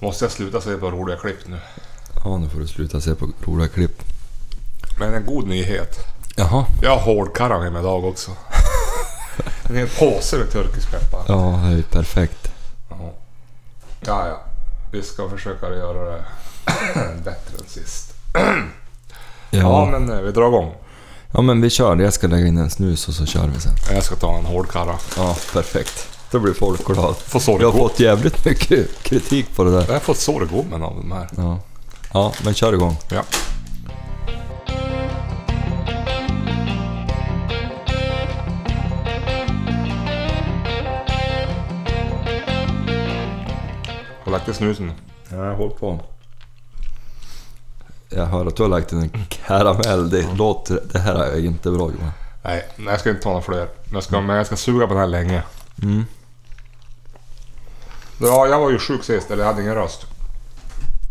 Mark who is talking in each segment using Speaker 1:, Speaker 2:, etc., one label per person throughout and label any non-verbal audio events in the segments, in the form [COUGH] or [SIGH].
Speaker 1: Måste jag sluta se på roliga klipp nu?
Speaker 2: Ja, nu får du sluta se på roliga klipp.
Speaker 1: Men en god nyhet.
Speaker 2: Jaha.
Speaker 1: Jag har hårdkarrat hemma idag också. [LAUGHS] en hel påse med turkisk peppar. Ja.
Speaker 2: Ja, det är ju perfekt.
Speaker 1: ja, ja. Vi ska försöka göra det [CLEARS THROAT] bättre än sist.
Speaker 2: Ja.
Speaker 1: Ja,
Speaker 2: men...
Speaker 1: men eh, vi drar igång.
Speaker 2: ja, men vi kör. Jag ska lägga in en snus och så kör vi sen.
Speaker 1: Jag ska ta en hårdkarra.
Speaker 2: Ja, perfekt. Då blir folk glada.
Speaker 1: Får såg
Speaker 2: Jag har fått jävligt mycket [LAUGHS] kritik på det där.
Speaker 1: Jag har fått sårgommen av de här.
Speaker 2: Ja. Ja, men kör igång.
Speaker 1: Ja. Har du lagt i snusen?
Speaker 2: Ja, håll på. Jag hör att du har lagt in en karamell. Det låter... Det här är inte bra Johan.
Speaker 1: Nej, nej, jag ska inte ta några fler. Men jag ska, men jag ska suga på den här länge.
Speaker 2: Mm.
Speaker 1: Ja, jag var ju sjuk sist, eller jag hade ingen röst.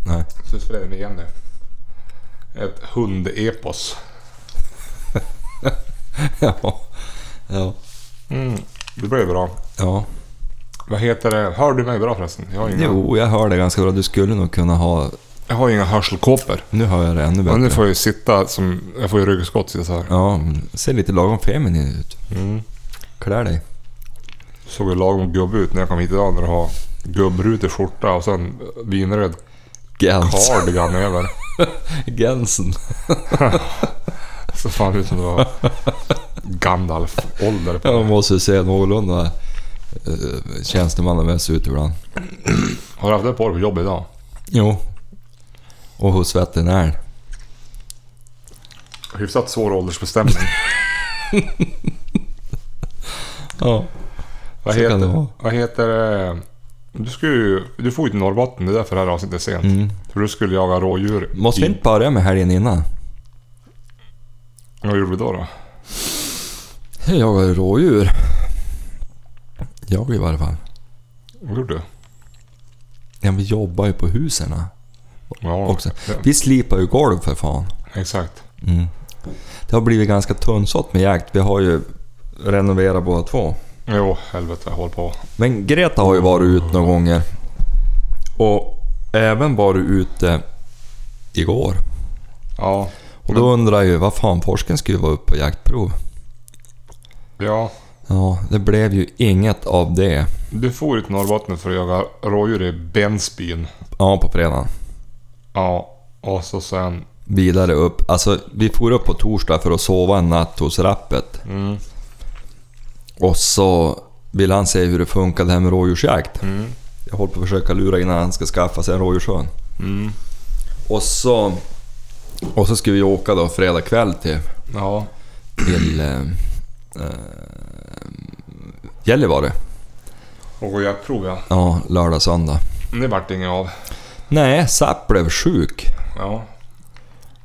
Speaker 2: Nej.
Speaker 1: Så vi spelade in igen nu. Ett hundepos.
Speaker 2: [LAUGHS] ja. Ja.
Speaker 1: Mm. Det blev bra.
Speaker 2: Ja.
Speaker 1: Vad heter det? Hör du mig bra förresten? Jag har inga,
Speaker 2: Jo, jag hör det ganska bra. Du skulle nog kunna ha...
Speaker 1: jag har inga hörselkåpor.
Speaker 2: Nu hör jag det ännu bättre.
Speaker 1: Men nu får jag ju sitta som... Jag får ju ryggskott sitta så här.
Speaker 2: Ja, men ser lite lagom feminin ut.
Speaker 1: Mm.
Speaker 2: Klär dig.
Speaker 1: Såg ju lagom gubb ut när jag kom hit idag när du har gubbrutig skjorta och sen vinröd [LAUGHS]
Speaker 2: Gens.
Speaker 1: cardigan över.
Speaker 2: Gensen.
Speaker 1: Så fan ut som det var Gandalf-ålder på
Speaker 2: Jag
Speaker 1: det.
Speaker 2: måste ju se någorlunda eh, tjänstemannamässig ut ibland.
Speaker 1: Har du haft det på dig på jobbet idag?
Speaker 2: Jo. Och hos veterinären.
Speaker 1: Hyfsat
Speaker 2: [LAUGHS]
Speaker 1: svår åldersbestämning.
Speaker 2: Ja.
Speaker 1: Vad
Speaker 2: Så kan det vara.
Speaker 1: heter, vad heter det? Du, skulle, ju- du får ju till Norrbotten, det är därför det här avsnittet är sent.
Speaker 2: Mm.
Speaker 1: För du skulle jaga rådjur.
Speaker 2: Måste
Speaker 1: i,
Speaker 2: vi inte börja med helgen innan?
Speaker 1: Vad gjorde vi då? då?
Speaker 2: Jag jagar rådjur. Jag i varje fall.
Speaker 1: Vad gjorde du?
Speaker 2: Ja, vi jobbar ju på husen
Speaker 1: Ja,
Speaker 2: också.
Speaker 1: det-
Speaker 2: Vi slipar ju golv för fan.
Speaker 1: exakt.
Speaker 2: Mm. Det har blivit ganska tunnsått med jakt. Vi har ju renoverat båda två.
Speaker 1: Jo, helvete, håll på.
Speaker 2: Men Greta har ju varit ute några gånger. Och även varit ute igår.
Speaker 1: Ja,
Speaker 2: Och då undrar jag ju vad fan forsken skulle vara uppe på jaktprov.
Speaker 1: ja.
Speaker 2: Ja, det blev ju inget av det.
Speaker 1: Du for ju till Norrbotten för att jaga rådjur i Bensbyn.
Speaker 2: Ja, på fredagen.
Speaker 1: Ja, och så sen...
Speaker 2: Vidare upp. Alltså, vi for upp på torsdag för att sova en natt hos Rappet.
Speaker 1: Mm,
Speaker 2: Och så ville han se hur det funkar det här med rådjursjakt.
Speaker 1: mm,
Speaker 2: Jag håller på att försöka lura innan han ska skaffa sig en rådjurshund.
Speaker 1: mm.
Speaker 2: Och så... Och så skulle vi åka då fredag kväll till
Speaker 1: Ja,
Speaker 2: till eh, eh, Gällivare.
Speaker 1: och gå jaktprov ja.
Speaker 2: Ja, lördag, söndag.
Speaker 1: Men Det vart inget av.
Speaker 2: Nej, Zapp blev sjuk.
Speaker 1: Ja,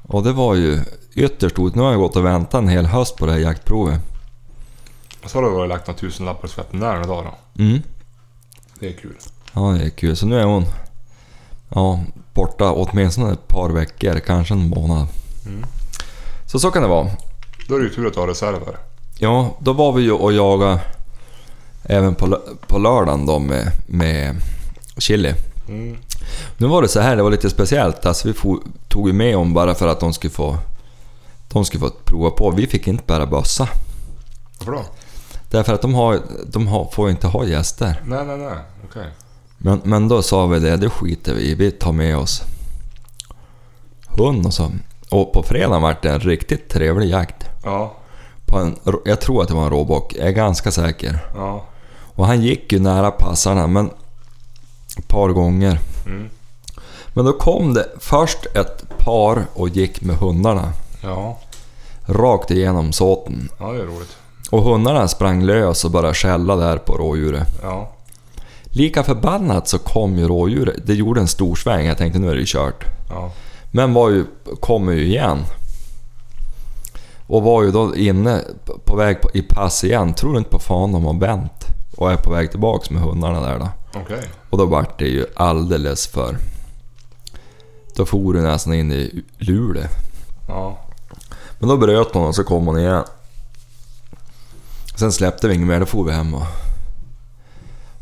Speaker 2: Och det var ju ytterst otäckt. Nu har jag gått och väntat en hel höst på det här jaktprovet.
Speaker 1: och så har du väl lagt några tusenlappar hos veterinären idag då.
Speaker 2: Mm.
Speaker 1: Det är kul.
Speaker 2: Ja, det är kul. Så nu är hon ja, borta åtminstone ett par veckor, kanske en månad.
Speaker 1: Mm.
Speaker 2: Så så kan det vara.
Speaker 1: Då är det ju tur att du har reserver.
Speaker 2: Ja, då var vi ju och jagade även på, lö- på lördagen då med, med chili.
Speaker 1: Mm.
Speaker 2: Nu var det så här, det var lite speciellt. Alltså, vi for, tog ju med om bara för att de skulle få de skulle få prova på. Vi fick inte bära bössa.
Speaker 1: Varför då?
Speaker 2: Därför att de, har, de har, får inte ha gäster.
Speaker 1: Nej, nej, nej. Okej.
Speaker 2: Men, men då sa vi det, det skiter vi i. Vi tar med oss hund och så. Och på fredagen var det en riktigt trevlig jakt.
Speaker 1: Ja,
Speaker 2: På en, rå- jag tror att det var en råbock, jag är ganska säker.
Speaker 1: ja.
Speaker 2: Och han gick ju nära passarna, men ett par gånger.
Speaker 1: Mm.
Speaker 2: Men då kom det först ett par och gick med hundarna.
Speaker 1: Ja,
Speaker 2: rakt igenom såten.
Speaker 1: ja det är roligt.
Speaker 2: Och hundarna sprang lös och började skälla där på rådjuret.
Speaker 1: Ja,
Speaker 2: Lika förbannat så kom ju rådjuret. Det gjorde en stor sväng. Jag tänkte nu är det ju kört.
Speaker 1: ja.
Speaker 2: Men var ju, kommer ju igen. Och var ju då inne på väg på, i pass igen. Tror inte på fan de har vänt. Och är på väg tillbaks med hundarna där då.
Speaker 1: Okej.
Speaker 2: Och då vart det ju alldeles för... Då for du nästan in i Luleå.
Speaker 1: Ja,
Speaker 2: Men då bröt hon och så kom hon igen. Sen släppte vi inget mer, då for vi hem och,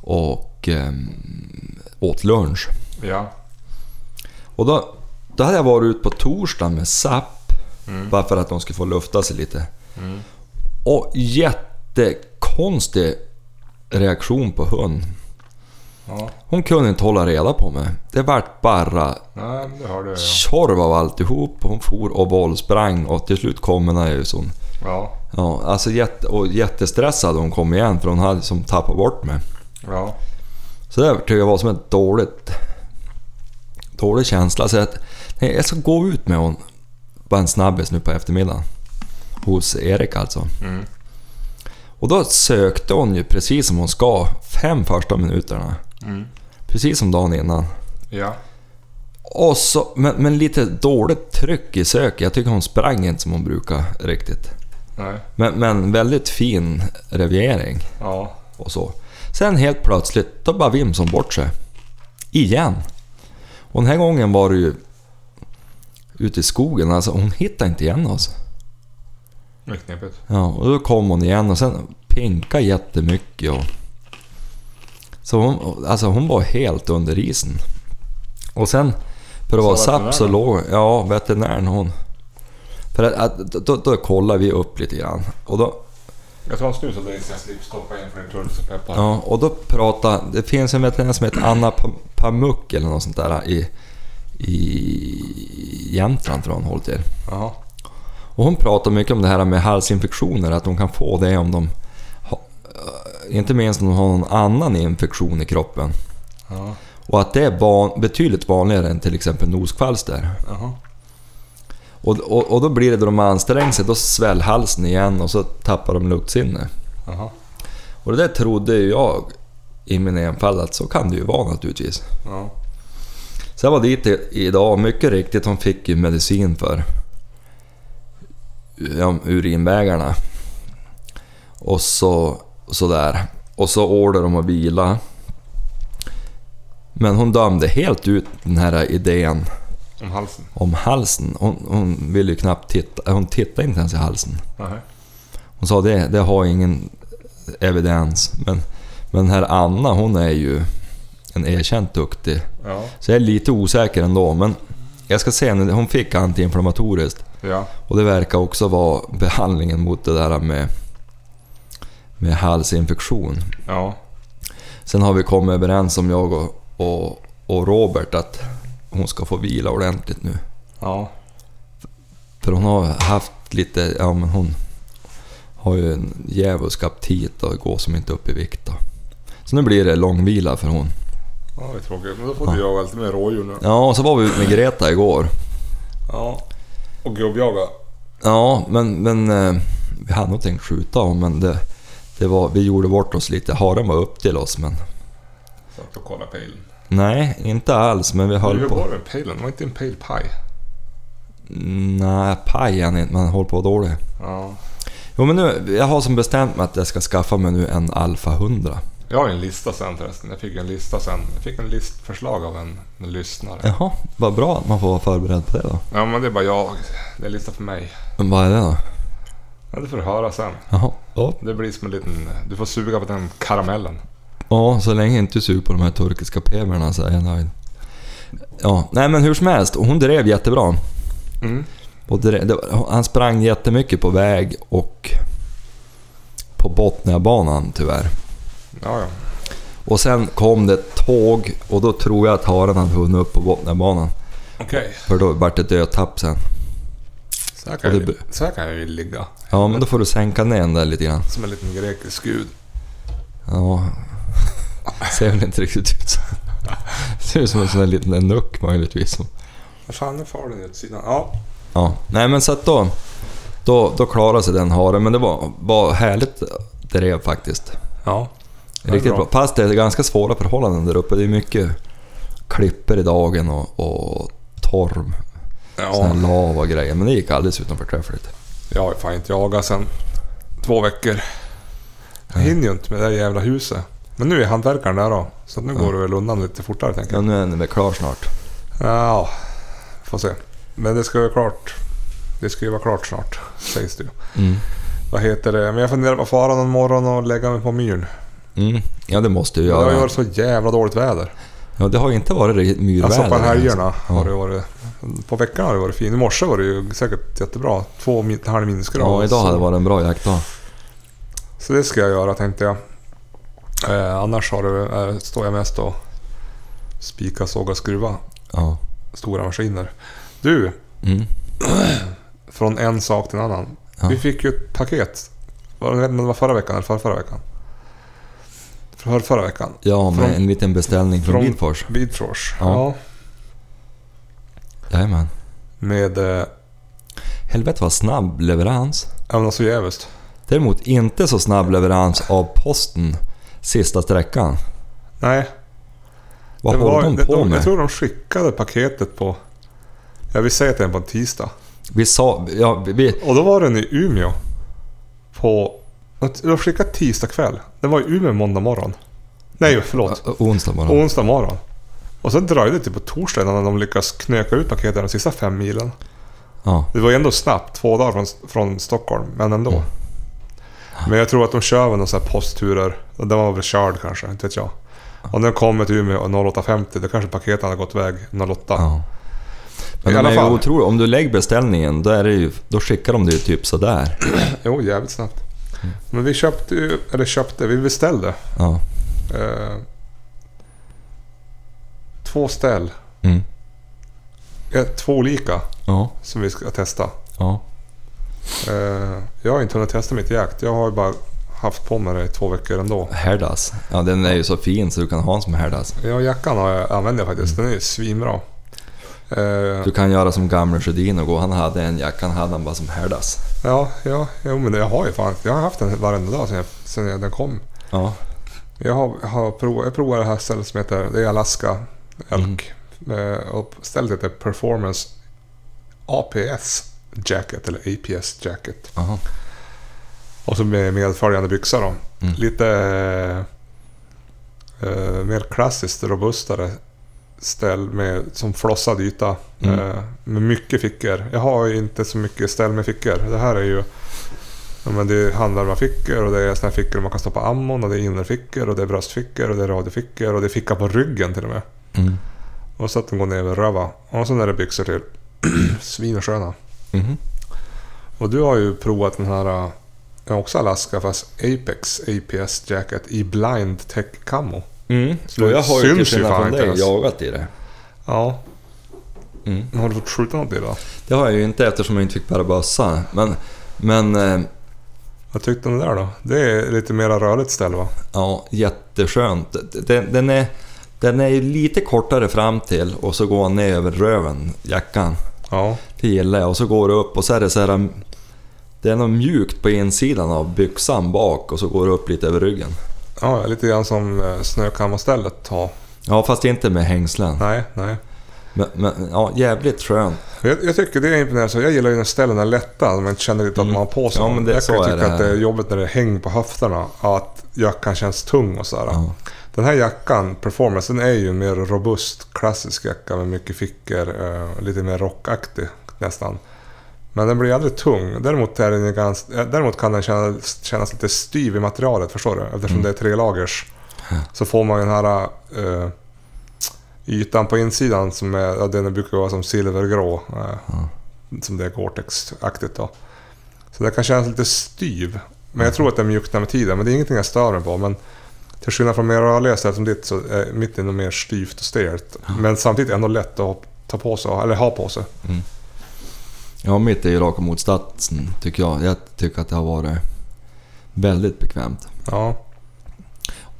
Speaker 2: och ehm, åt lunch.
Speaker 1: Ja.
Speaker 2: Och då, då hade jag varit ut på torsdag med SAP. Bara för att de skulle få lufta sig lite. Och jättekonstig reaktion på hund.
Speaker 1: ja.
Speaker 2: Hon kunde inte hålla reda på mig. Det vart bara
Speaker 1: Nej, det hörde jag. Ja.
Speaker 2: tjorv av alltihop. Hon for och våldsprang och till slut kom hon ju som...
Speaker 1: Ja.
Speaker 2: Ja, alltså jätte, och jättestressad hon kom igen för hon hade som tappat bort mig.
Speaker 1: ja.
Speaker 2: Så det tycker jag var som ett dåligt... Dålig känsla. Så att, nej, jag ska gå ut med hon. Bara en snabbis nu på eftermiddagen. Hos Erik alltså.
Speaker 1: Mm.
Speaker 2: Och då sökte hon ju precis som hon ska, fem första minuterna.
Speaker 1: Mm.
Speaker 2: Precis som dagen innan.
Speaker 1: Ja.
Speaker 2: Och så, men, men lite dåligt tryck i sök. Jag tycker hon sprang inte som hon brukar riktigt.
Speaker 1: Nej.
Speaker 2: Men, men väldigt fin reviering
Speaker 1: Ja.
Speaker 2: och så. Sen helt plötsligt, då bara vims hon bort sig. Igen. Och den här gången var det ju ute i skogen. Alltså hon hittade inte igen oss.
Speaker 1: Det är knepigt.
Speaker 2: Ja, och då kom hon igen och sen pinka jättemycket och... Så hon, alltså hon var helt under isen. Och sen, för att
Speaker 1: Sa
Speaker 2: vara sapp så
Speaker 1: veterinären?
Speaker 2: låg Ja, veterinären hon. För att, att, då, då kollade vi upp lite grann. Och då,
Speaker 1: Jag tar en snus och dricker så jag slipper stoppa in för det är turk och peppar.
Speaker 2: ja, och då pratade... Det finns en veterinär som heter Anna Pa- Pamuk eller något sånt där i... I Jämtland tror jag hon håller till.
Speaker 1: Jaha.
Speaker 2: Och hon pratar mycket om det här med halsinfektioner, att de kan få det om de... ha- eh, Inte minst om de har någon annan infektion i kroppen.
Speaker 1: Ja.
Speaker 2: Och att det är van, betydligt vanligare än till exempel noskvalster.
Speaker 1: Jaha.
Speaker 2: Och, och, och då blir det då de anstränger sig, då sväller halsen igen och så tappar de luktsinne.
Speaker 1: Jaha.
Speaker 2: Och det där trodde ju jag i min enfald att så kan det ju vara naturligtvis.
Speaker 1: Ja.
Speaker 2: Så jag var dit i- idag och mycket riktigt, hon fick ju medicin för ja, urinvägarna. Och så sådär. Och så order om att vila. Men hon dömde helt ut den här idén
Speaker 1: Om halsen?
Speaker 2: om halsen. Hon, hon ville ju knappt titta, hon tittade inte ens i halsen.
Speaker 1: Nej.
Speaker 2: Hon sa det, det har ingen evidens. Men, men den här Anna hon är ju en erkänt duktig
Speaker 1: Ja.
Speaker 2: så jag är lite osäker ändå, men jag ska se nu. Hon fick antiinflammatoriskt
Speaker 1: Ja.
Speaker 2: och det verkar också vara behandlingen mot det där med, med halsinfektion.
Speaker 1: Ja.
Speaker 2: Sen har vi kommit överens om jag och, och, och Robert att hon ska få vila ordentligt nu.
Speaker 1: Ja.
Speaker 2: För hon har haft lite, ja men hon har ju en djävulsk aptit och går som inte upp i vikt då. Så nu blir det långvila för hon.
Speaker 1: Ja, det är tråkigt. Men då får du jaga lite mer rådjur nu.
Speaker 2: Ja, och så var vi ute med Greta igår.
Speaker 1: Ja. Och gubbjaga.
Speaker 2: Ja, men, men eh, vi hade nog tänkt skjuta om, men det, det var, vi gjorde bort oss lite. Haren var upp till oss, men
Speaker 1: Satt och kollade pejlen.
Speaker 2: nej, inte alls. Men vi höll
Speaker 1: Hur
Speaker 2: på.
Speaker 1: var det med pejlen? Det var inte en pejlpaj?
Speaker 2: Nej, pajen inte, man håller på dåligt.
Speaker 1: Ja.
Speaker 2: Jo, men nu, jag har som bestämt mig att jag ska skaffa mig nu en Alfa 100.
Speaker 1: Jag har en lista sen förresten. Jag fick en lista sen. Jag fick en listförslag av en, en lyssnare. Ja.
Speaker 2: Jaha, vad bra att man får vara förberedd på det då.
Speaker 1: men det är bara jag. Det är en lista för mig.
Speaker 2: Men vad är det då?
Speaker 1: Ja, det får du höra sen.
Speaker 2: Jaha. Ja,
Speaker 1: Det blir som en liten... Du får suga på den karamellen.
Speaker 2: Ja, så länge jag inte suger på de här turkiska peberna så är jag nöjd. Ja, nej men hur som helst, hon drev jättebra.
Speaker 1: Mm.
Speaker 2: Och det, det, var- han sprang jättemycket på väg och på Botniabanan tyvärr.
Speaker 1: Ja, ja.
Speaker 2: Och sen kom det ett tåg och då tror jag att haren hade hunnit upp på Botniabanan.
Speaker 1: Okej.
Speaker 2: För då vart det dödtapp sen.
Speaker 1: Så, här kan
Speaker 2: Och
Speaker 1: jag
Speaker 2: det
Speaker 1: ju- så här kan jag ju ligga.
Speaker 2: Ja, men då får du sänka ner den där lite grann.
Speaker 1: Som en liten grekisk gud.
Speaker 2: Ja... [LAUGHS] Ser väl inte riktigt ut så. Ser ut som en sån där liten enuck möjligtvis.
Speaker 1: Vad fan, nu far den ut sidan. Ja.
Speaker 2: Ja, nej men så att då... Då, då klarade sig den haren, men det var, var härligt drev faktiskt.
Speaker 1: Ja. Ja,
Speaker 2: Riktigt
Speaker 1: bra.
Speaker 2: bra. Fast det är ganska svåra förhållanden där uppe. Det är mycket klipper i dagen och, och torv. Sån
Speaker 1: Ja.
Speaker 2: här lava och grejer. Men det gick alldeles utan förträffligt.
Speaker 1: Jag har ju fan inte jagat sen två veckor. Jag hinner ju inte med det där jävla huset. Men nu är hantverkaren där då. Så att nu går det väl undan lite fortare tänker jag.
Speaker 2: Ja, nu är den väl klar snart.
Speaker 1: Ja, får se. Men det ska ju vara klart. Det ska ju vara klart snart, sägs det ju.
Speaker 2: Mm.
Speaker 1: Vad heter det? Men jag funderar på att fara någon morgon och lägga mig på myren.
Speaker 2: Mm. Ja, det måste ju
Speaker 1: Det har ju
Speaker 2: göra.
Speaker 1: varit så jävla dåligt väder.
Speaker 2: Ja, det har ju inte varit riktigt myrväder.
Speaker 1: Alltså på helgerna
Speaker 2: Ja.
Speaker 1: har det varit... På veckan har det varit fint. I morse var det ju säkert jättebra. Två min- halv minusgrad.
Speaker 2: Ja, idag hade det varit en bra jaktdag.
Speaker 1: Så det ska jag göra tänkte jag. Eh, annars har det, eh, står jag mest och spika, såga, skruva.
Speaker 2: Ja.
Speaker 1: Stora maskiner. Du,
Speaker 2: Mm.
Speaker 1: från en sak till en annan.
Speaker 2: Ja.
Speaker 1: Vi fick ju ett paket. Var det, men det var förra veckan eller förra, förra veckan? För, förra veckan.
Speaker 2: Ja, med
Speaker 1: Från-
Speaker 2: en liten beställning från
Speaker 1: från-
Speaker 2: Bilfors.
Speaker 1: Bidfors. Ja.
Speaker 2: Ja. Jajamän.
Speaker 1: Med... Eh,
Speaker 2: Helvete vad snabb leverans.
Speaker 1: ja, men alltså jävligt.
Speaker 2: Däremot inte så snabb leverans av posten sista sträckan.
Speaker 1: Nej,
Speaker 2: Vad
Speaker 1: det var-
Speaker 2: håller de
Speaker 1: det-
Speaker 2: på
Speaker 1: de,
Speaker 2: med?
Speaker 1: Jag tror de skickade paketet på... Ja, vi säger att det är på en tisdag.
Speaker 2: Vi sa... Ja, vi, vi,
Speaker 1: Och då var den i Umeå. På... De skickade tisdag kväll. Den var i Umeå måndag morgon. Nej, förlåt.
Speaker 2: Ö, onsdag bara.
Speaker 1: Onsdag morgon. Och sen dröjde det till på torsdag innan de lyckades knöka ut paketet de sista fem milen.
Speaker 2: Ja.
Speaker 1: Det var ju ändå snabbt, två dagar från, från Stockholm, men ändå.
Speaker 2: Mm.
Speaker 1: Men jag tror att de kör väl några så här postturer. Och Den var väl körd kanske, inte vet jag. Och när de kommer till Umeå 08.50, då kanske paketet hade gått iväg 08.
Speaker 2: ja. Men
Speaker 1: I
Speaker 2: de
Speaker 1: alla
Speaker 2: är
Speaker 1: fall.
Speaker 2: ju otroliga. Om du lägger beställningen, då, är det ju, då skickar de det ju typ sådär.
Speaker 1: Jo, jävligt snabbt. Men vi köpte ju, eller köpte, vi beställde
Speaker 2: Ja.
Speaker 1: eh, två ställ.
Speaker 2: Mm.
Speaker 1: Eh, Två olika
Speaker 2: Ja.
Speaker 1: som vi ska testa.
Speaker 2: Ja.
Speaker 1: Eh, jag har inte hunnit testa mitt jakt. Jag har ju bara haft på mig det i två veckor ändå.
Speaker 2: Herdas. Ja, den är ju så fin så du kan ha en som herdas.
Speaker 1: Ja, jackan har jag, använder jag faktiskt. Den är ju svinbra. Eh,
Speaker 2: Du kan göra som gamle Sjödin och gå. Han hade en jacka, han hade han bara som herdas.
Speaker 1: ja, ja, jo, men jag har ju fan, jag har haft den varenda dag sedan, jag, sedan jag, den kom.
Speaker 2: Ja.
Speaker 1: Jag har, har provat, jag provar det här stället som heter, det är Alaska Elk. Eh, och stället heter Performance APS Jacket eller APS Jacket.
Speaker 2: Aha.
Speaker 1: Och så med medföljande byxor då.
Speaker 2: Mm.
Speaker 1: Lite eh, eh, mer klassiskt robustare ställ med, som flossad yta.
Speaker 2: Mm.
Speaker 1: Eh, med mycket fickor. Jag har ju inte så mycket ställ med fickor. Det här är ju ja, men det är handvärmarfickor och det är såna här fickor man kan stoppa ammon och det är innerfickor och det är bröstfickor och det är radiofickor och det är ficka på ryggen till och med.
Speaker 2: Mm.
Speaker 1: Och så att de går ner över röva. Och sen är det byxor till. [CLEARS THROAT] Svin och sköna.
Speaker 2: Mhm.
Speaker 1: Och du har ju provat den här, eh, också Alaska, fast Apex APS Jacket i Blind Tech Camo.
Speaker 2: Mm.
Speaker 1: Så det syns ju fan inte ens.
Speaker 2: jagat i det.
Speaker 1: Ja.
Speaker 2: Mm.
Speaker 1: Har du fått skjuta något i det då?
Speaker 2: Det har jag ju inte eftersom jag inte fick bära bössa. Men, men eh,
Speaker 1: Vad tyckte du om det där då? Det är lite mera rörligt ställ va?
Speaker 2: ja, jätteskönt. Den, den, är, den är ju lite kortare fram till och så går han ner över röven, jackan.
Speaker 1: Ja.
Speaker 2: Det gillar jag. Och så går det upp och så är det så här... Det är något mjukt på insidan av byxan bak och så går det upp lite över ryggen.
Speaker 1: Ja, lite grann som eh, snökammarstället har.
Speaker 2: Ja, fast inte med hängslen.
Speaker 1: Nej, nej.
Speaker 2: Men, men ja, jävligt skönt.
Speaker 1: Jag, jag tycker det är imponerande. Jag gillar ju när ställen är lätta, när man inte känner lite att man har på sig
Speaker 2: Mm. Ja,
Speaker 1: dem.
Speaker 2: men det-
Speaker 1: Jag kan
Speaker 2: så
Speaker 1: ju
Speaker 2: är
Speaker 1: tycka
Speaker 2: det
Speaker 1: att det är
Speaker 2: här.
Speaker 1: jobbigt när det är häng på höfterna. Att jackan känns tung och sådär.
Speaker 2: Ja.
Speaker 1: Den här jackan, performance, den är ju en mer robust, klassisk jacka med mycket fickor. Eh, lite mer rockaktig nästan. Men den blir aldrig tung. Däremot, är den ju ganska, eh, däremot kan den kännas, kännas lite styv i materialet, förstår du? Eftersom
Speaker 2: Mm.
Speaker 1: det är tre lagers. Så får man den här eh, ytan på insidan som är, ja, den brukar vara som silvergrå. Eh, Som det är Gore-Tex-aktigt då. Så den kan kännas lite styv. Men jag tror att den mjuknar med tiden. Men det är ingenting jag stör mig på. Men till skillnad från mer rörliga ställen som ditt så är mitt ändå mer styvt och stelt. Men samtidigt ändå lätt att ha- ta på sig, eller ha på sig.
Speaker 2: Ja, mitt är ju raka motsatsen tycker jag. Jag tycker att det har varit väldigt bekvämt.
Speaker 1: Ja,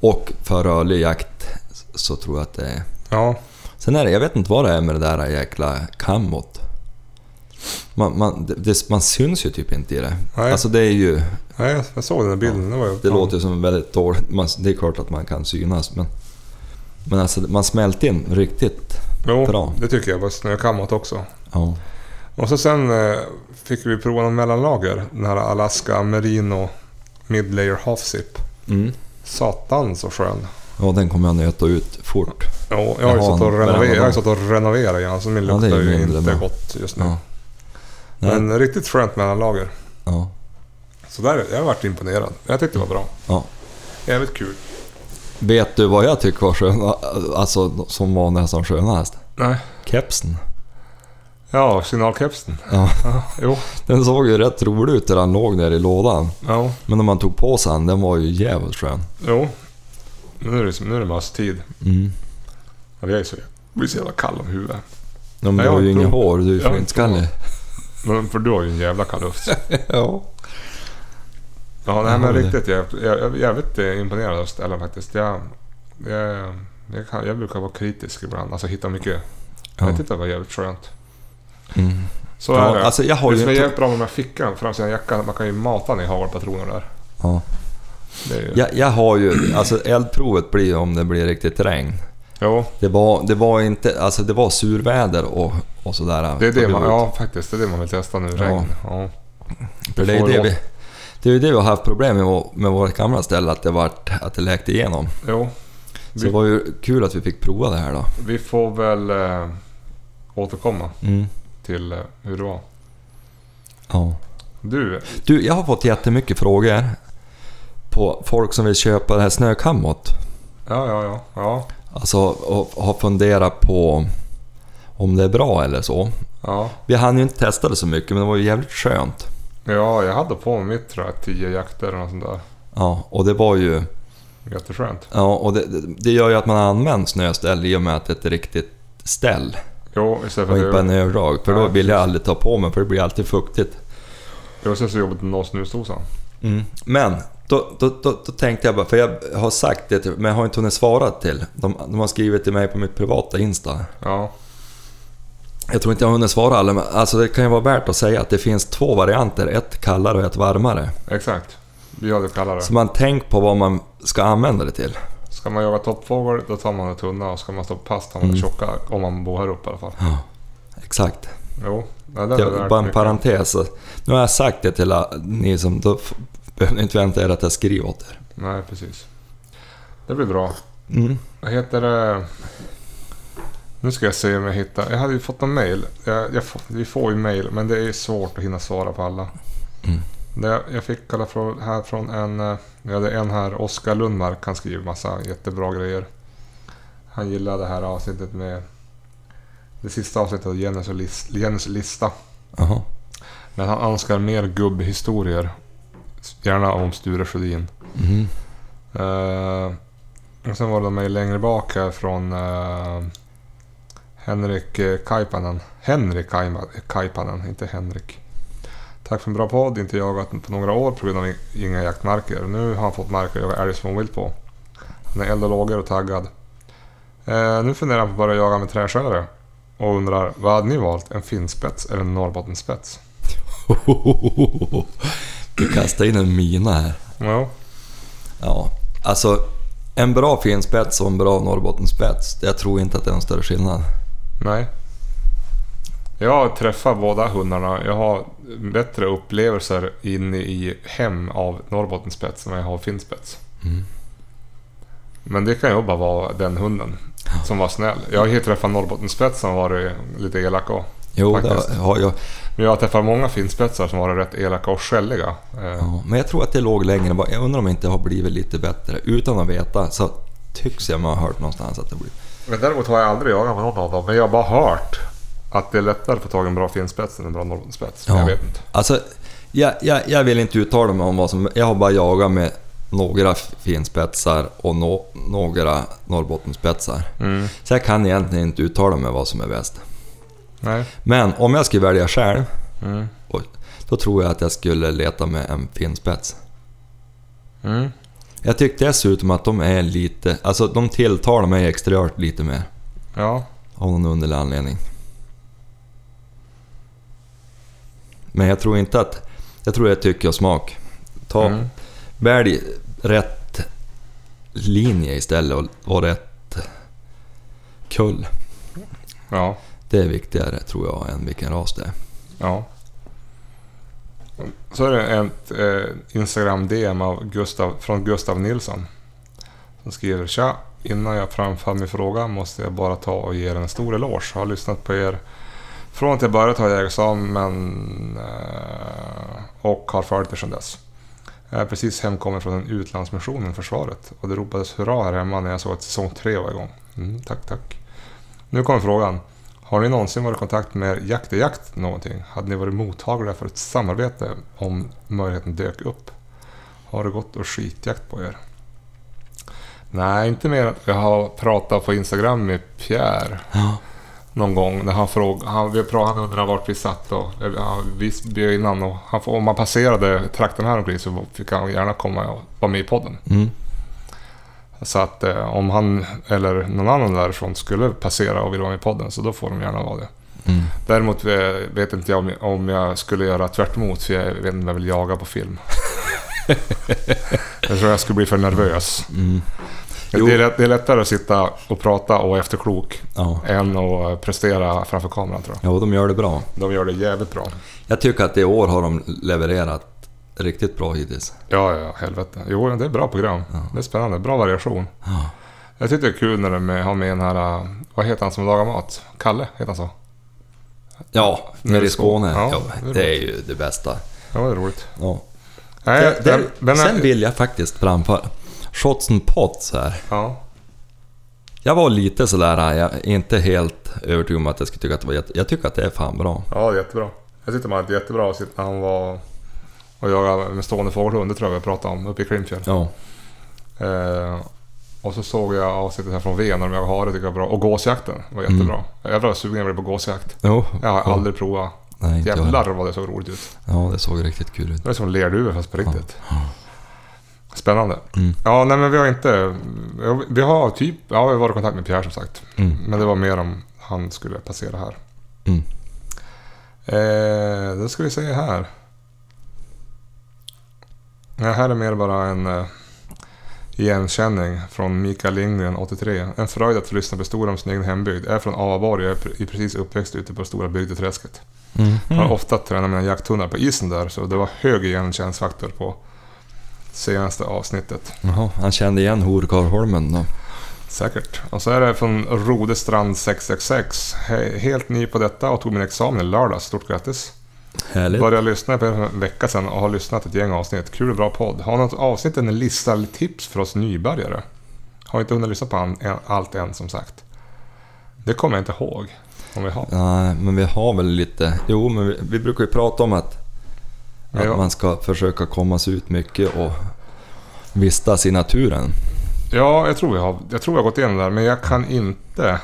Speaker 2: Och för rörlig jakt så tror jag att det är...
Speaker 1: ja.
Speaker 2: Sen är det, jag vet inte vad det är med det där jäkla kammot. Man, man, det- det, man syns ju typ inte i det.
Speaker 1: Nej.
Speaker 2: Alltså det är ju...
Speaker 1: Nej, jag såg den där bilden. Det, var ju
Speaker 2: Det
Speaker 1: fan-
Speaker 2: låter ju som väldigt dåligt. Man, det är klart att man kan synas men... Men alltså man smälter in riktigt
Speaker 1: jo,
Speaker 2: bra.
Speaker 1: det tycker jag var snökammat också.
Speaker 2: Ja.
Speaker 1: Och så sen eh, fick vi prova någon mellanlager. Den här Alaska Merino Midlayer Half Zip.
Speaker 2: Mm.
Speaker 1: Satan så skön.
Speaker 2: Ja, den kommer jag nöta ut fort.
Speaker 1: Ja, jag har ju
Speaker 2: Jaha,
Speaker 1: suttit och
Speaker 2: en
Speaker 1: renoverat- jag har ju
Speaker 2: mellanlag.
Speaker 1: suttit och renoverat igen så min
Speaker 2: Ja, det är
Speaker 1: luktar
Speaker 2: ju
Speaker 1: ju
Speaker 2: mindre
Speaker 1: inte
Speaker 2: bra.
Speaker 1: gott just nu.
Speaker 2: Ja. Nej.
Speaker 1: Men riktigt skönt mellanlager.
Speaker 2: Ja.
Speaker 1: Så där, jag har varit imponerad. Jag tyckte det var bra.
Speaker 2: ja.
Speaker 1: Jävligt kul.
Speaker 2: Vet du vad jag tycker var sköna, alltså som var nästan skönast?
Speaker 1: Nej.
Speaker 2: Kepsen.
Speaker 1: Ja, signalkepsen.
Speaker 2: Ja.
Speaker 1: Jo.
Speaker 2: Den såg ju rätt rolig ut där han låg nere i lådan.
Speaker 1: Ja.
Speaker 2: Men när man tog på sig den, den var ju jävligt skön.
Speaker 1: Jo. Nu är det, nu är det mösstid.
Speaker 2: Mm.
Speaker 1: Ja, vi är så, vi är så jävla kall om huvudet.
Speaker 2: Ja, men
Speaker 1: Ja,
Speaker 2: du har ju
Speaker 1: jag
Speaker 2: inget
Speaker 1: tror-
Speaker 2: hår, du är ju
Speaker 1: jag tror-
Speaker 2: flintskallig.
Speaker 1: Men, för du har ju en jävla kalufs.
Speaker 2: ja.
Speaker 1: Ja, nej, men
Speaker 2: Ja, det-
Speaker 1: riktigt jävligt, jag, jag är jävligt eh, imponerad av Stellan faktiskt. Jag, jag, jag, kan, jag brukar vara kritisk ibland. Alltså hitta mycket.
Speaker 2: Ja.
Speaker 1: Jag tyckte det var jävligt skönt.
Speaker 2: Mm.
Speaker 1: Så är
Speaker 2: ja
Speaker 1: det.
Speaker 2: alltså jag har
Speaker 1: det som
Speaker 2: ju
Speaker 1: är
Speaker 2: inte...
Speaker 1: jävligt bra med de här fickan fram sina jackan, man kan ju mata ner hagelpatroner där.
Speaker 2: Ja.
Speaker 1: Det är ju...
Speaker 2: Jag, jag har ju... Alltså eldprovet blir ju om det blir riktigt regn.
Speaker 1: Jo,
Speaker 2: Det var, det var inte... Alltså det var surväder och, och sådär.
Speaker 1: det är det man, ja, faktiskt, det är det man vill testa nu.
Speaker 2: Ja.
Speaker 1: Regn. Ja.
Speaker 2: För det är
Speaker 1: får
Speaker 2: ju det
Speaker 1: låta-
Speaker 2: vi... Det är ju det vi har haft problem med, vår- med vårt gamla ställe, att det, vart, att det läkte igenom.
Speaker 1: Jo,
Speaker 2: Så
Speaker 1: Vi-
Speaker 2: det var ju kul att vi fick prova det här då.
Speaker 1: vi får väl eh, återkomma till eh, hur det var.
Speaker 2: Mm. Ja.
Speaker 1: Du,
Speaker 2: Du, jag har fått jättemycket frågor på folk som vill köpa det här snökammot.
Speaker 1: ja, ja, ja. ja,
Speaker 2: Alltså och har funderat på om det är bra eller så.
Speaker 1: ja.
Speaker 2: Vi hann ju inte testa det så mycket men det var ju jävligt skönt.
Speaker 1: Ja, jag hade på mig mitt tror jag, tio jakter eller något sånt där.
Speaker 2: Ja, och det var ju...
Speaker 1: Jätteskönt.
Speaker 2: Ja, och det, det- det gör ju att man använder snöställ i och med att det är ett riktigt ställ
Speaker 1: Jo, istället
Speaker 2: och inte
Speaker 1: för
Speaker 2: bara
Speaker 1: att
Speaker 2: en
Speaker 1: det,
Speaker 2: överdrag. För
Speaker 1: Ja,
Speaker 2: då vill jag aldrig ta på mig för det blir alltid fuktigt. Mm.
Speaker 1: det var så så jobbigt att nå snusdosan.
Speaker 2: Men då, då, då, då tänkte jag bara, för jag har sagt det till- men jag har inte hunnit svara till. De, de har skrivit till mig på mitt privata Insta.
Speaker 1: Ja,
Speaker 2: Jag tror inte jag har hunnit svara alla, men alltså det kan ju vara värt att säga att det finns två varianter. Ett kallare och ett varmare.
Speaker 1: exakt. Vi hade kallare.
Speaker 2: Så man tänk på vad man ska använda det till.
Speaker 1: Ska man jaga toppfågel, då tar man det tunna och ska man stå på pass tar man det
Speaker 2: Mm.
Speaker 1: tjocka. Om man bor här uppe i alla fall.
Speaker 2: Exakt.
Speaker 1: Jo, nej, det
Speaker 2: Det
Speaker 1: är
Speaker 2: var
Speaker 1: värt
Speaker 2: bara en
Speaker 1: mycket.
Speaker 2: parentes. Nu har jag sagt det till alla ni som... Då f- behöver ni inte vänta er att jag skriver åt er.
Speaker 1: Nej, precis. Det blir bra.
Speaker 2: Mm.
Speaker 1: Vad heter det? Nu ska jag se om jag hittar. Jag hade ju fått någon mail. Jag, jag, får- vi får ju mail, men det är svårt att hinna svara på alla.
Speaker 2: Mm.
Speaker 1: Det, jag fick alla från, här från en... eh, Vi hade en här, Oskar Lundmark. Han skriver massa jättebra grejer. Han gillade det här avsnittet med... Det sista avsnittet av Jennys, och lis, Jennys lista.
Speaker 2: Jaha.
Speaker 1: Men han önskar mer gubbhistorier. Gärna om Sture Sjödin.
Speaker 2: [LAUGHS] Mhm.
Speaker 1: Eh, och sen var det mig längre bak här från eh, Henrik eh, Kaipanen. Henrik Kaima- Kaipanen, inte Henrik. Tack för en bra podd. Inte jagat på några år på grund av i- inga jaktmarker. Nu har han fått marker att jaga älg småvilt på. Han är eld och lågor och taggad. Eh, nu funderar han på att börja jaga med träskärare. Och undrar, vad hade ni valt? En finspets eller en norrbottenspets?
Speaker 2: Du kastar in en mina här.
Speaker 1: Ja,
Speaker 2: Ja, alltså en bra finspets och en bra Norrbottenspets. Jag tror inte att det är någon större skillnad.
Speaker 1: nej. Jag har träffat båda hundarna. Jag har bättre upplevelser inne i hem av Norrbottenspets än vad jag har finspets.
Speaker 2: Mm.
Speaker 1: Men det kan ju bara vara den hunden som var snäll. Jag har ju träffat Norrbottenspets som varit lite elak och.
Speaker 2: Jo,
Speaker 1: Faktiskt.
Speaker 2: det har jag.
Speaker 1: Men jag har träffat många finspetsar som varit rätt elaka och skälliga. Eh,
Speaker 2: Ja, men jag tror att det låg längre bak. Jag undrar om det inte har blivit lite bättre. Utan att veta så tycks jag mig ha hört någonstans att det blir...
Speaker 1: Men däremot har jag aldrig jagat med någon av dem. Men jag har bara hört att det är lättare att få tag i en bra finspets än en bra Norrbottenspets. Men
Speaker 2: Ja.
Speaker 1: Jag vet inte.
Speaker 2: Alltså, jag, jag, jag vill inte uttala mig om vad som... Jag har bara jagat med några finspetsar och nå- några Norrbottenspetsar.
Speaker 1: Mm.
Speaker 2: Så jag kan egentligen inte uttala mig vad som är bäst.
Speaker 1: Nej.
Speaker 2: Men om jag skulle välja själv,
Speaker 1: Mm.
Speaker 2: och- då tror jag att jag skulle leta med en finspets.
Speaker 1: Mm.
Speaker 2: Jag tyckte dessutom att de är lite... Alltså de tilltalar mig exteriört lite mer.
Speaker 1: Ja.
Speaker 2: Av någon underlig anledning. Men jag tror inte att... Jag tror det är tycke och smak. Ta,
Speaker 1: Mm.
Speaker 2: Välj rätt linje istället och, och rätt kull.
Speaker 1: Ja.
Speaker 2: Det är viktigare tror jag än vilken ras det är.
Speaker 1: Ja. Så är det ett eh, Instagram-DM av Gustav, från Gustav Nilsson. Som skriver Tja! Innan jag framför min fråga måste jag bara ta och ge er en stor eloge. Jag har lyssnat på er från att jag började ta jägarexamen eh, och har följt er sedan dess. Jag är precis hemkommen från en utlandsmissionen, försvaret. Och det ropades hurra här hemma när jag såg att säsong tre var igång. Mm, tack, tack. Nu kommer frågan. Har ni någonsin varit i kontakt med er Jakt i Jakt någonting? Hade ni varit mottagliga för ett samarbete om möjligheten dök upp? Har det gått och skitjakt på er? Nej, inte mer än att jag har pratat på Instagram med Pierre
Speaker 2: Ja.
Speaker 1: någon gång. När han, fråg, han, vi pra- han undrade vart vi satt och han, vi bjöd in honom. och Han, får- om man passerade trakten här omkring så fick han gärna komma och vara med i podden.
Speaker 2: Mm.
Speaker 1: Så att eh, om han eller någon annan därifrån skulle passera och vill vara med i podden så då får de gärna vara det.
Speaker 2: Mm.
Speaker 1: Däremot eh, vet inte jag om- om jag skulle göra tvärt emot för jag vet inte om jag vill jaga
Speaker 2: [LAUGHS]
Speaker 1: på film. jag tror jag skulle bli för nervös.
Speaker 2: Mm. Jo.
Speaker 1: Det är, lätt, det är lättare att sitta och prata och vara efterklok
Speaker 2: Ja.
Speaker 1: än att prestera framför kameran tror jag.
Speaker 2: ja, de gör det bra.
Speaker 1: De gör det jävligt bra.
Speaker 2: Jag tycker att i år har de levererat riktigt bra hittills.
Speaker 1: Ja, ja, helvete. Jo, det är bra program. Det är spännande. Bra variation.
Speaker 2: Ja.
Speaker 1: Jag tyckte det är kul när de har med den här... eh, Vad heter han som lagar mat? Kalle, heter han så?
Speaker 2: Ja, nere i Skåne.
Speaker 1: Ja,
Speaker 2: Ja,
Speaker 1: det är
Speaker 2: det är ju det bästa.
Speaker 1: Ja, det är roligt.
Speaker 2: Ja.
Speaker 1: Nej,
Speaker 2: Det- det-
Speaker 1: Äh, den-
Speaker 2: sen vill jag faktiskt framföra Shots and Pots här.
Speaker 1: Ja.
Speaker 2: Jag var lite sådär, äh, jag är inte helt övertygad om att jag skulle tycka att det var jätte... Jag tycker att det är fan bra.
Speaker 1: Ja, jättebra. Jag tyckte man hade ett jättebra avsnitt när han var och jagade med stående fågelhund, det tror jag vi pratade om, uppe i Klimpfjäll.
Speaker 2: Ja.
Speaker 1: Eh, och så såg jag avsnittet här från Ven när de jagade hare, tycker jag var bra. Och gåsjakten var jättebra. Jag var sugen jag blev på gåsjakt.
Speaker 2: Jo.
Speaker 1: Jag har aldrig provat.
Speaker 2: Nej, inte jag heller.
Speaker 1: Jävlar vad det såg roligt ut.
Speaker 2: Ja, det såg riktigt kul ut.
Speaker 1: Det är som lerduvor fast på riktigt. Spännande. Ja, nej men vi har inte... Vi har typ... Ja, vi var i kontakt med Pierre som sagt.
Speaker 2: Mm.
Speaker 1: Men det var mer om han skulle passera här.
Speaker 2: Mm.
Speaker 1: Eh, då ska vi se här. Det här är mer bara en eh, igenkänning från Mikael Lindgren, 83. En fröjd att få lyssna på historier om sin egen hembygd. Jag är från Avaborg och jag är pre- precis uppväxt ute på Stora Bygdeträsket.
Speaker 2: Mm.
Speaker 1: Jag har ofta tränat mina jakthundar på isen där, så det var hög igenkänningsfaktor på senaste avsnittet.
Speaker 2: Mm. Jaha, han kände igen Horkarholmen då.
Speaker 1: Säkert. Och så är det från Rodestrand 666. He- Helt ny på detta och tog min examen i lördags. Stort grattis!
Speaker 2: Härligt.
Speaker 1: Började lyssna på er för en vecka sedan och har lyssnat ett gäng avsnitt. Kul och bra podd. Har något avsnitt en lista eller tips för oss nybörjare? Har inte hunnit lyssna på an- en- allt än som sagt. Det kommer jag inte ihåg om vi har.
Speaker 2: Nej, men vi har väl lite... Jo, men vi, vi brukar ju prata om att, att
Speaker 1: Ja.
Speaker 2: man ska försöka komma sig ut mycket och vistas i naturen.
Speaker 1: Ja, jag tror vi har. Jag tror jag har gått igenom det där, men jag kan inte...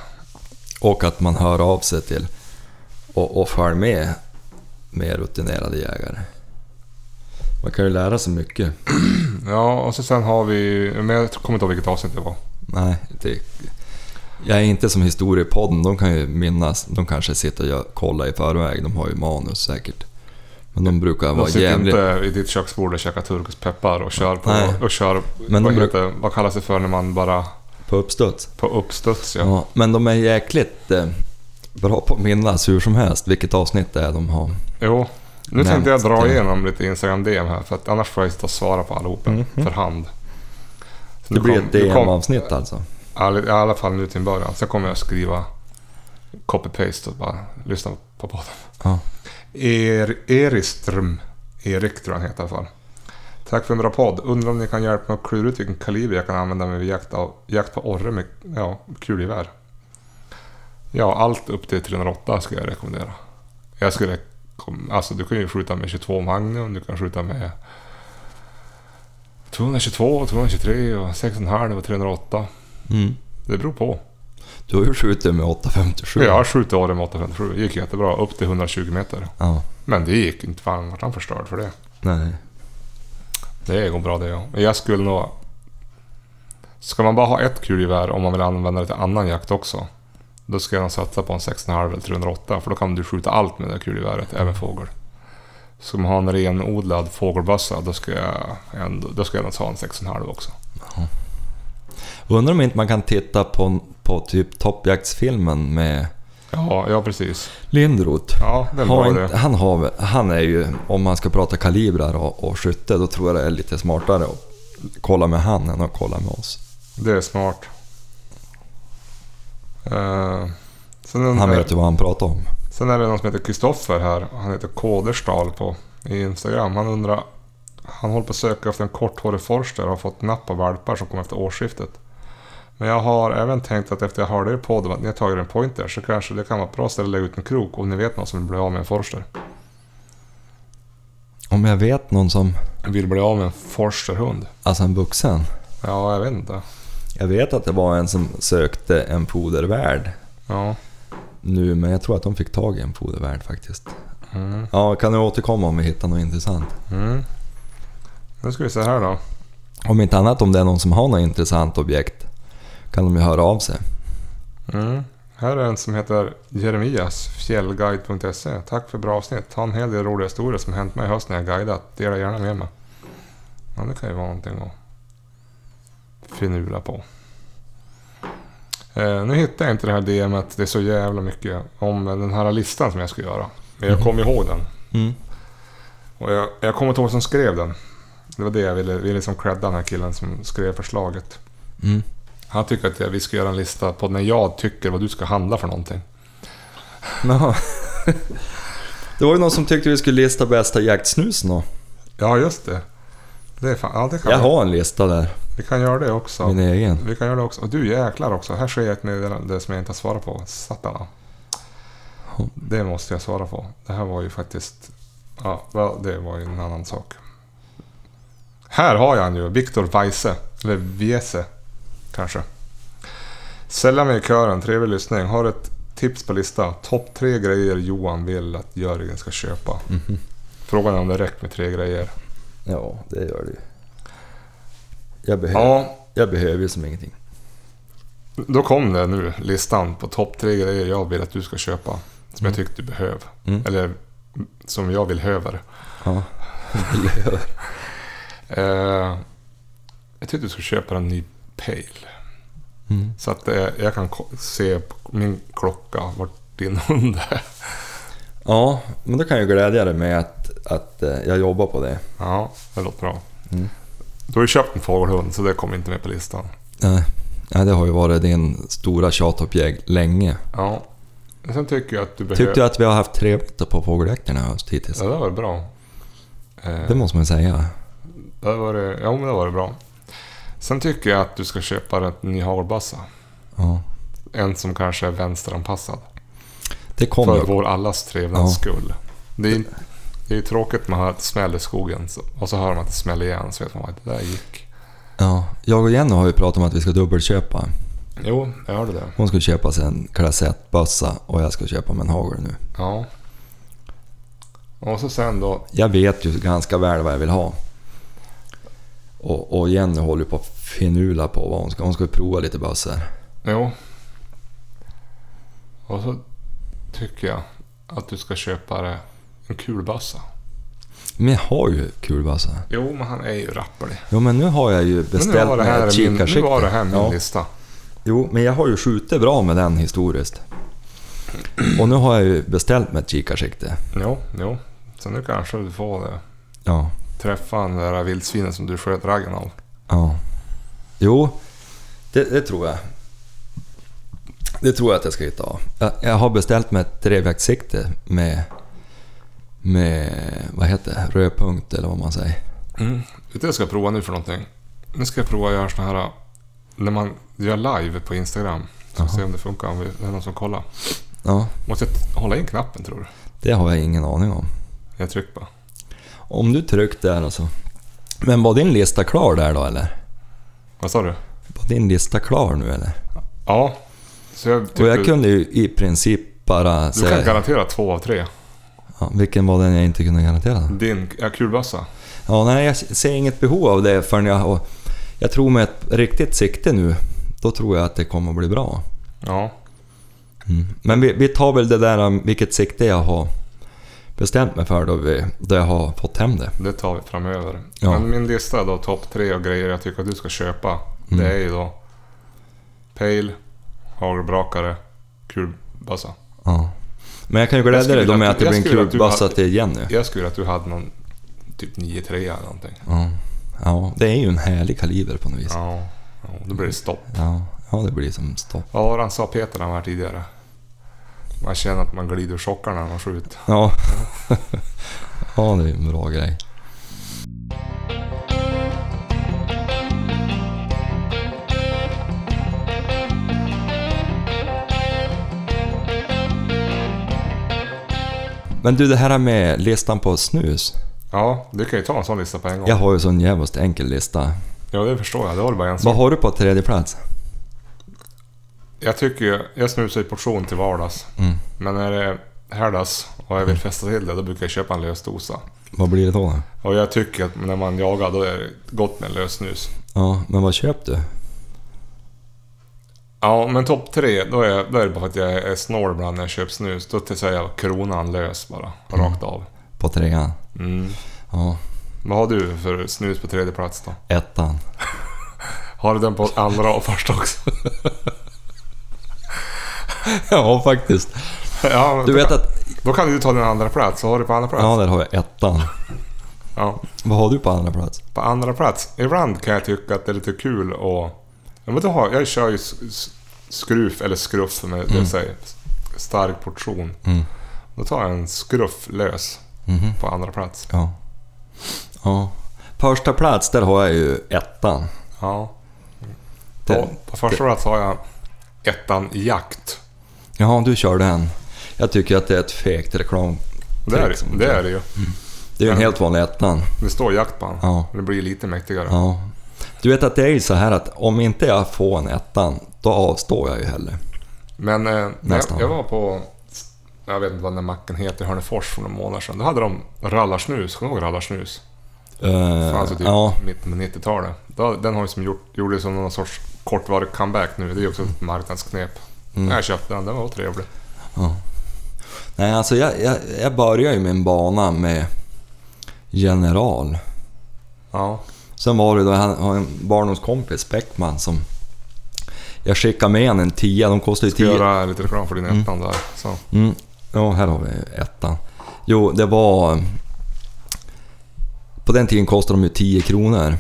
Speaker 2: Och att man hör av sig till och, och följer med mer rutinerade jägare. Man kan ju lära sig mycket.
Speaker 1: Ja, och så sen har vi... Men jag kommer inte ihåg vilket avsnitt det var.
Speaker 2: Nej, det, jag är inte som historiepodden, de kan ju minnas. De kanske sitter och gör, kollar i förväg, de har ju manus säkert. Men de brukar
Speaker 1: De
Speaker 2: vara
Speaker 1: sitter
Speaker 2: jävligt...
Speaker 1: inte i ditt köksbord och käkar turkispeppar och kör på...
Speaker 2: Nej.
Speaker 1: Och kör,
Speaker 2: Men
Speaker 1: vad,
Speaker 2: de
Speaker 1: heter, vad kallas det för när man bara...
Speaker 2: På uppstuds.
Speaker 1: På uppstuds, ja.
Speaker 2: Ja, men de är jäkligt eh, bra på att minnas hur som helst vilket avsnitt det är de har.
Speaker 1: Jo. Nu
Speaker 2: Men-
Speaker 1: tänkte jag dra igenom lite Instagram-DM här, för att annars får jag sitta och svara på allihopa
Speaker 2: Mhm.
Speaker 1: för hand.
Speaker 2: Det
Speaker 1: Så nu
Speaker 2: blir
Speaker 1: kom-
Speaker 2: ett
Speaker 1: nu kom-
Speaker 2: DM-avsnitt alltså.
Speaker 1: all- I alla fall nu till en början. Sen kommer jag skriva copy-paste och bara lyssna på podden.
Speaker 2: Ja.
Speaker 1: Er, Eriström. Erik tror jag han heter i alla fall. Tack för en bra podd. Undrar om ni kan hjälpa mig att klura ut vilken kaliber jag kan använda mig vid jakt, av, jakt på orre med ja, kulgevär. Ja, allt upp till 308 skulle jag rekommendera. Jag skulle... kom- Alltså du kan ju skjuta med 22 Magnum, du kan skjuta med 222, 223 och 6,5 och 308.
Speaker 2: Mm.
Speaker 1: Det beror på.
Speaker 2: Du har ju skjutit med 857.
Speaker 1: Jag har skjutit orre med 857, gick jättebra. Upp till 120 meter.
Speaker 2: Ja,
Speaker 1: Men det gick inte. Fan vart han förstörd för det.
Speaker 2: nej.
Speaker 1: Det går bra det ja. Men jag skulle nog... Ska man bara ha ett kulgevär om man vill använda det till annan jakt också. Då ska jag nog satsa på en 6,5 eller 308 för då kan du skjuta allt med det där kulgeväret, även fågel. Ska man ha en renodlad fågelbössa då ska jag, ändå, då ska jag nog ta en 6,5 också.
Speaker 2: Undrar om inte man kan titta på, på typ toppjaktsfilmen med
Speaker 1: Ja, ja precis.
Speaker 2: Lindroth.
Speaker 1: Ja, den
Speaker 2: Har
Speaker 1: var
Speaker 2: inte,
Speaker 1: det.
Speaker 2: han, har, väl- han är ju, om man ska prata kalibrar och, och skytte, då tror jag det är lite smartare att kolla med han än att kolla med oss.
Speaker 1: Det är smart. Eh, sen den-
Speaker 2: Han vet ju vad han pratar om.
Speaker 1: Sen är det någon som heter Kristoffer här. Han heter Kåderstal på i Instagram. Han undrar... Han håller på att söka efter en korthårig forster och har fått napp av valpar som kommer efter årsskiftet. Men jag har även tänkt att efter jag hörde er podd om att ni har tagit en pointer så kanske det kan vara ett bra ställe att lägga ut en krok om ni vet någon som vill bli av med en forster.
Speaker 2: Om jag vet någon som...
Speaker 1: Vill bli av med en forsterhund?
Speaker 2: Alltså en vuxen.
Speaker 1: Ja, jag vet inte.
Speaker 2: Jag vet att det var en som sökte en fodervärd
Speaker 1: Ja.
Speaker 2: nu, men jag tror att de fick tag i en fodervärd faktiskt.
Speaker 1: Mm.
Speaker 2: Ja, kan du återkomma om vi hittar något intressant?
Speaker 1: Mm. Nu ska vi se här då.
Speaker 2: Om inte annat om det är någon som har något intressant objekt kan de ju höra av sig.
Speaker 1: Mm. Här är en som heter Jeremias, fjällguide.se. Tack för bra avsnitt. Ha en hel del roliga historier som hänt mig i höst när jag guidat. Dela gärna med mig. Ja, det kan ju vara någonting att finula på. Eh, nu hittar jag inte det här DMet. Det är så jävla mycket om den här listan som jag ska göra. Men jag kommer ihåg den.
Speaker 2: Mm.
Speaker 1: Och jag, jag kommer inte ihåg vem som skrev den. Det var det jag ville, ville liksom credda den här killen som skrev förslaget.
Speaker 2: Mm.
Speaker 1: Han tycker att jag- vi ska göra en lista på när jag tycker vad du ska handla för någonting.
Speaker 2: [LAUGHS] Jaha. Det var ju någon som tyckte vi skulle lista bästa jaktsnusen då.
Speaker 1: Ja, just det. Det är fan, ja, det kan
Speaker 2: Jag
Speaker 1: vi.
Speaker 2: har en lista där,
Speaker 1: Vi kan göra det också.
Speaker 2: min egen.
Speaker 1: Vi kan göra det också. Och du jäklar också. Här ser jag ett meddelande som jag inte har svarat på. Satana. Det måste jag svara på. Det här var ju faktiskt... Ja, well, det var ju en annan sak. Här har jag han ju. Viktor Weise. Eller Wiese. Kanske. Sälja mig i kören. Trevlig lyssning. Har ett tips på lista. Topp tre grejer Johan vill att Jörgen ska köpa. Frågan är om det räcker med tre grejer.
Speaker 2: Ja, det gör det ju. Jag behöver,
Speaker 1: Ja,
Speaker 2: jag behöver ju som ingenting.
Speaker 1: Då kom det nu, listan på topp tre grejer jag vill att du ska köpa. Som jag tyckte du behöver.
Speaker 2: Mm.
Speaker 1: Eller som jag vill höver.
Speaker 2: Ja.
Speaker 1: [LAUGHS] Eh, jag tyckte du skulle köpa en ny pejl.
Speaker 2: Mm.
Speaker 1: Så att eh, jag kan ko- se på min klocka vart din hund är.
Speaker 2: ja, men då kan jag ju glädja dig med att, att eh, jag jobbar på det.
Speaker 1: Ja, det låter bra.
Speaker 2: Mm.
Speaker 1: Du har ju köpt en fågelhund så det kom inte med på listan.
Speaker 2: Nej, nej, det har ju varit din stora tjatuppgift länge.
Speaker 1: Ja. Sen tycker jag att du behöver...
Speaker 2: Tyckte du att vi har haft trevligt på fågeljakterna i höst hittills?
Speaker 1: Ja, det var bra. Eh,
Speaker 2: Det måste man säga.
Speaker 1: det var det... Ja, men det var det bra. Sen tycker jag att du ska köpa en ny hagelbössa.
Speaker 2: Ja.
Speaker 1: En som kanske är vänsteranpassad.
Speaker 2: Det kommer
Speaker 1: För
Speaker 2: jag.
Speaker 1: vår allas trevnads
Speaker 2: Ja.
Speaker 1: skull. Det är, det är ju tråkigt man hör att det smäller i skogen så, och så hör man att det smäller igen så vet man att det där gick.
Speaker 2: Ja. Jag och Jenny har ju pratat om att vi ska dubbelköpa.
Speaker 1: Jo, jag hörde det.
Speaker 2: Hon ska köpa sig en klass 1-bössa och jag ska köpa mig en hagel nu.
Speaker 1: Ja. Och så sen då.
Speaker 2: Jag vet ju ganska väl vad jag vill ha. Och, och Jenny håller ju på att finula på vad hon ska... Hon ska ju prova lite bössor.
Speaker 1: Jo. Och så tycker jag att du ska köpa dig en kulbössa.
Speaker 2: Men jag har ju kulbössa.
Speaker 1: Jo, men han är ju rapplig.
Speaker 2: Jo men nu har jag ju
Speaker 1: Men nu
Speaker 2: beställt
Speaker 1: var det
Speaker 2: mig
Speaker 1: här
Speaker 2: ett
Speaker 1: min, nu
Speaker 2: kikarsikte.
Speaker 1: var det här min
Speaker 2: Ja.
Speaker 1: lista.
Speaker 2: Jo, men jag har ju skjutit bra med den historiskt. Och nu har jag ju beställt mig ett kikarsikte.
Speaker 1: Jo, jo. Så nu kanske du får det.
Speaker 2: Ja.
Speaker 1: träffa den där vildsvinen som du sköt raggen av.
Speaker 2: Ja. Jo, det, det tror jag. Det tror jag att jag ska hitta av. Jag, jag har beställt mig ett drevjaktssikte med, med vad heter det, rödpunkt eller vad man säger. Mm.
Speaker 1: Vet du vad jag ska prova nu för någonting? Nu ska jag prova att göra såna här... eh, När man gör live på Instagram. Ska
Speaker 2: Jaha.
Speaker 1: se om det funkar, om vi- det är någon som kollar.
Speaker 2: Ja,
Speaker 1: Måste jag t- hålla in knappen tror du?
Speaker 2: det har jag ingen aning om.
Speaker 1: Jag trycker bara.
Speaker 2: Om du tryckte där alltså. Men var din lista klar där då eller?
Speaker 1: Vad sa du?
Speaker 2: Var din lista klar nu eller?
Speaker 1: Ja. Så jag
Speaker 2: Och
Speaker 1: tyckte,
Speaker 2: jag kunde ju i princip bara
Speaker 1: du kan
Speaker 2: säga...
Speaker 1: garantera två av tre.
Speaker 2: Ja, vilken var den jag inte kunde garantera?
Speaker 1: Din ja, kulbössa.
Speaker 2: Ja, nej, jag ser inget behov av det förrän jag har... Jag tror med ett riktigt sikte nu, då tror jag att det kommer att bli bra.
Speaker 1: Ja.
Speaker 2: Mm. Men vi, vi tar väl det där om vilket sikte jag har bestämt mig för då, vi, då jag har fått hem det.
Speaker 1: Det tar vi framöver.
Speaker 2: Ja.
Speaker 1: Men min lista då, topp tre och grejer jag tycker att du ska köpa.
Speaker 2: Mm.
Speaker 1: Det är ju då... Pejl, hagelbrakare, kulbössa.
Speaker 2: Ja. Men jag kan ju
Speaker 1: Jag
Speaker 2: glädja
Speaker 1: skulle
Speaker 2: dig då
Speaker 1: vilja
Speaker 2: med
Speaker 1: att
Speaker 2: att
Speaker 1: du-
Speaker 2: det blir
Speaker 1: jag
Speaker 2: en
Speaker 1: skulle vilja att du
Speaker 2: kulbössa
Speaker 1: hade-
Speaker 2: till Jenny.
Speaker 1: Jag skulle vilja att du hade någon typ 9-3 eller någonting.
Speaker 2: Ja. ja, det är ju en härlig kaliber på något vis. Ja,
Speaker 1: Ja, ja då blir det stopp.
Speaker 2: ja, det blir som stopp.
Speaker 1: Vad var det han sa Peter när han var här tidigare? Man känner att man glider
Speaker 2: [LAUGHS]
Speaker 1: ur sockarna när man skjuter.
Speaker 2: Ja, ja det är en bra grej. Men du, det här med listan på snus.
Speaker 1: Ja, du kan ju ta en sån lista på en gång.
Speaker 2: Jag
Speaker 1: Ja,
Speaker 2: har ju sån jävligt enkel lista.
Speaker 1: det förstår jag. Det var väl bara en
Speaker 2: Vad
Speaker 1: sak.
Speaker 2: har du på tredje plats?
Speaker 1: Jag tycker ju... Jag snusar i portion till vardags.
Speaker 2: Mm.
Speaker 1: Men när det är helgdags och jag vill festa till det, då brukar jag köpa en lösdosa.
Speaker 2: Vad blir det då?
Speaker 1: Och jag tycker att när man jagar, då är det gott med lös snus.
Speaker 2: Ja, men vad köpte du?
Speaker 1: Ja, men topp tre, då är, då är det bara för att jag är snål ibland när jag köper snus. Då till- säger jag kronan lös bara,
Speaker 2: Mm.
Speaker 1: rakt av.
Speaker 2: På trean?
Speaker 1: Mm.
Speaker 2: Ja,
Speaker 1: Vad har du för snus på tredje plats då?
Speaker 2: ettan.
Speaker 1: Har du den på andra och första också?
Speaker 2: [LAUGHS] ja, faktiskt.
Speaker 1: ja, men
Speaker 2: Du
Speaker 1: då,
Speaker 2: vet
Speaker 1: kan,
Speaker 2: att...
Speaker 1: då kan du ta din andra plats. Vad har du på andra plats?
Speaker 2: Ja, där har jag ettan.
Speaker 1: Ja.
Speaker 2: Vad har du på andra plats?
Speaker 1: På andra plats. Ibland kan jag tycka att det är lite kul och... Ja, men då har, jag kör ju s- s- skruf eller skruff, med, det vill säga stark portion.
Speaker 2: Mm.
Speaker 1: Då tar jag en skruff lös
Speaker 2: Mhm.
Speaker 1: på andra plats.
Speaker 2: Ja. Ja. Första plats, där har jag ju ettan.
Speaker 1: Ja. På,
Speaker 2: Det,
Speaker 1: på första plats har jag ettan jakt.
Speaker 2: ja, du kör den. Jag tycker att det är ett fegt reklam.
Speaker 1: Det är,
Speaker 2: Liksom.
Speaker 1: det är det ju.
Speaker 2: Det är ju en helt vanlig ettan.
Speaker 1: Det står jakt på den.
Speaker 2: Ja.
Speaker 1: Det blir lite mäktigare.
Speaker 2: Ja. Du vet att det är ju så här att om inte jag får en ettan, då avstår jag ju heller.
Speaker 1: Men eh, när
Speaker 2: Nästan.
Speaker 1: jag, jag var på, jag vet inte vad den macken heter, i Hörnefors för några månader sedan. Då hade de rallarsnus. Kommer du ihåg rallarsnus?
Speaker 2: Eh,
Speaker 1: Fanns ju typ
Speaker 2: ja,
Speaker 1: mitten på 90-talet. Då, den har ju som gjort, gjorde som någon sorts kortvarig comeback nu. Det är ju också ett marknadsknep.
Speaker 2: Mm.
Speaker 1: Jag köpte den, den var trevlig.
Speaker 2: nej alltså jag, jag, jag började ju min bana med General.
Speaker 1: Ja.
Speaker 2: Sen var det då, han har en barndomskompis, Bäckman, som... Jag skickade med han en tia, de kostar ju
Speaker 1: Ska
Speaker 2: tio...
Speaker 1: göra lite reklam för din ettan där. Så.
Speaker 2: Mm. Ja, här har vi ettan. Jo, det var... På den tiden kostade de ju 10 kronor.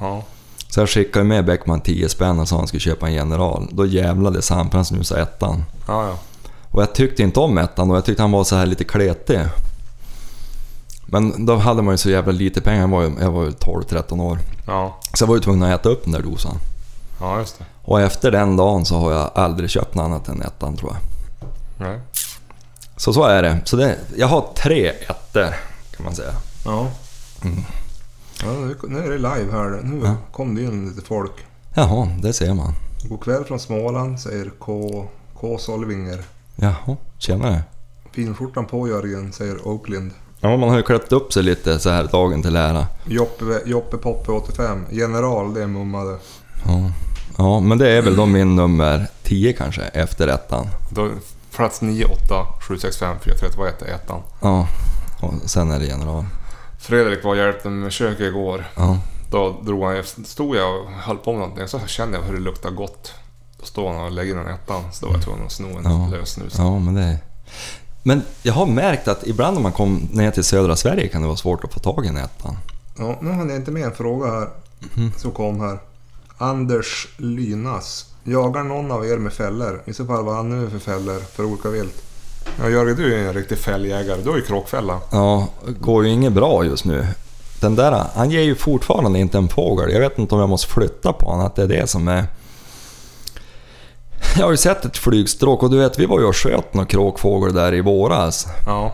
Speaker 1: Ja.
Speaker 2: Så jag skickade med Bäckman 10 spänn och sa han skulle köpa en General. Då jävlades han för han snusade ettan.
Speaker 1: Ja, ja.
Speaker 2: Och jag tyckte inte om ettan och jag tyckte han var så här lite kletig. Men då hade man ju så jävla lite pengar, jag var ju, jag var ju 12-13 år.
Speaker 1: Ja,
Speaker 2: Så jag var ju tvungen att äta upp den där dosan.
Speaker 1: ja just det.
Speaker 2: Och efter den dagen så har jag aldrig köpt något annat än ettan tror jag.
Speaker 1: Nej.
Speaker 2: Så så är det. Så det, jag har tre ettor kan man säga.
Speaker 1: Ja. Mm. ja nu, nu är det live här. Nu kom det in lite folk.
Speaker 2: Jaha, det ser man.
Speaker 1: God kväll från Småland säger K. K. Solvinger.
Speaker 2: Jaha, tjenare.
Speaker 1: Pinskjortan på Jörgen säger Oakland.
Speaker 2: Ja, man har ju klätt upp sig lite så här dagen till ära.
Speaker 1: Joppe, Joppe Poppe 85. General, det är mummade.
Speaker 2: Ja. ja, men det är väl då min nummer 10 kanske, efter ettan.
Speaker 1: Då, plats 9, 8, 7, 6, 5, 4, 3, 2, 1 är ettan.
Speaker 2: Ja, och sen är det general.
Speaker 1: Fredrik var och hjälpte mig med köket igår.
Speaker 2: Ja,
Speaker 1: Då drog han, stod jag och höll på med någonting så kände jag hur det luktade gott. Då står han och lägger in en ettan så då var jag tvungen att sno en
Speaker 2: Ja.
Speaker 1: lös snus.
Speaker 2: ja men det... Men jag har märkt att ibland när man kommer ner till södra Sverige kan det vara svårt att få tag i en ettan.
Speaker 1: Ja, nu hann jag inte med en fråga här som kom här. Anders Lynas. Jagar någon av er med fällor? I så fall vad han nu för fällor för olika vilt? Ja, Jörgen, du är ju en riktig fälljägare. Du har ju kråkfälla.
Speaker 2: Ja, går ju inget bra just nu. Den där, han ger ju fortfarande inte en fågel. Jag vet inte om jag måste flytta på honom, att det är det som är... Jag har ju sett ett flygstråk och du vet, vi var ju och sköt någon kråkfågel där i våras.
Speaker 1: Ja,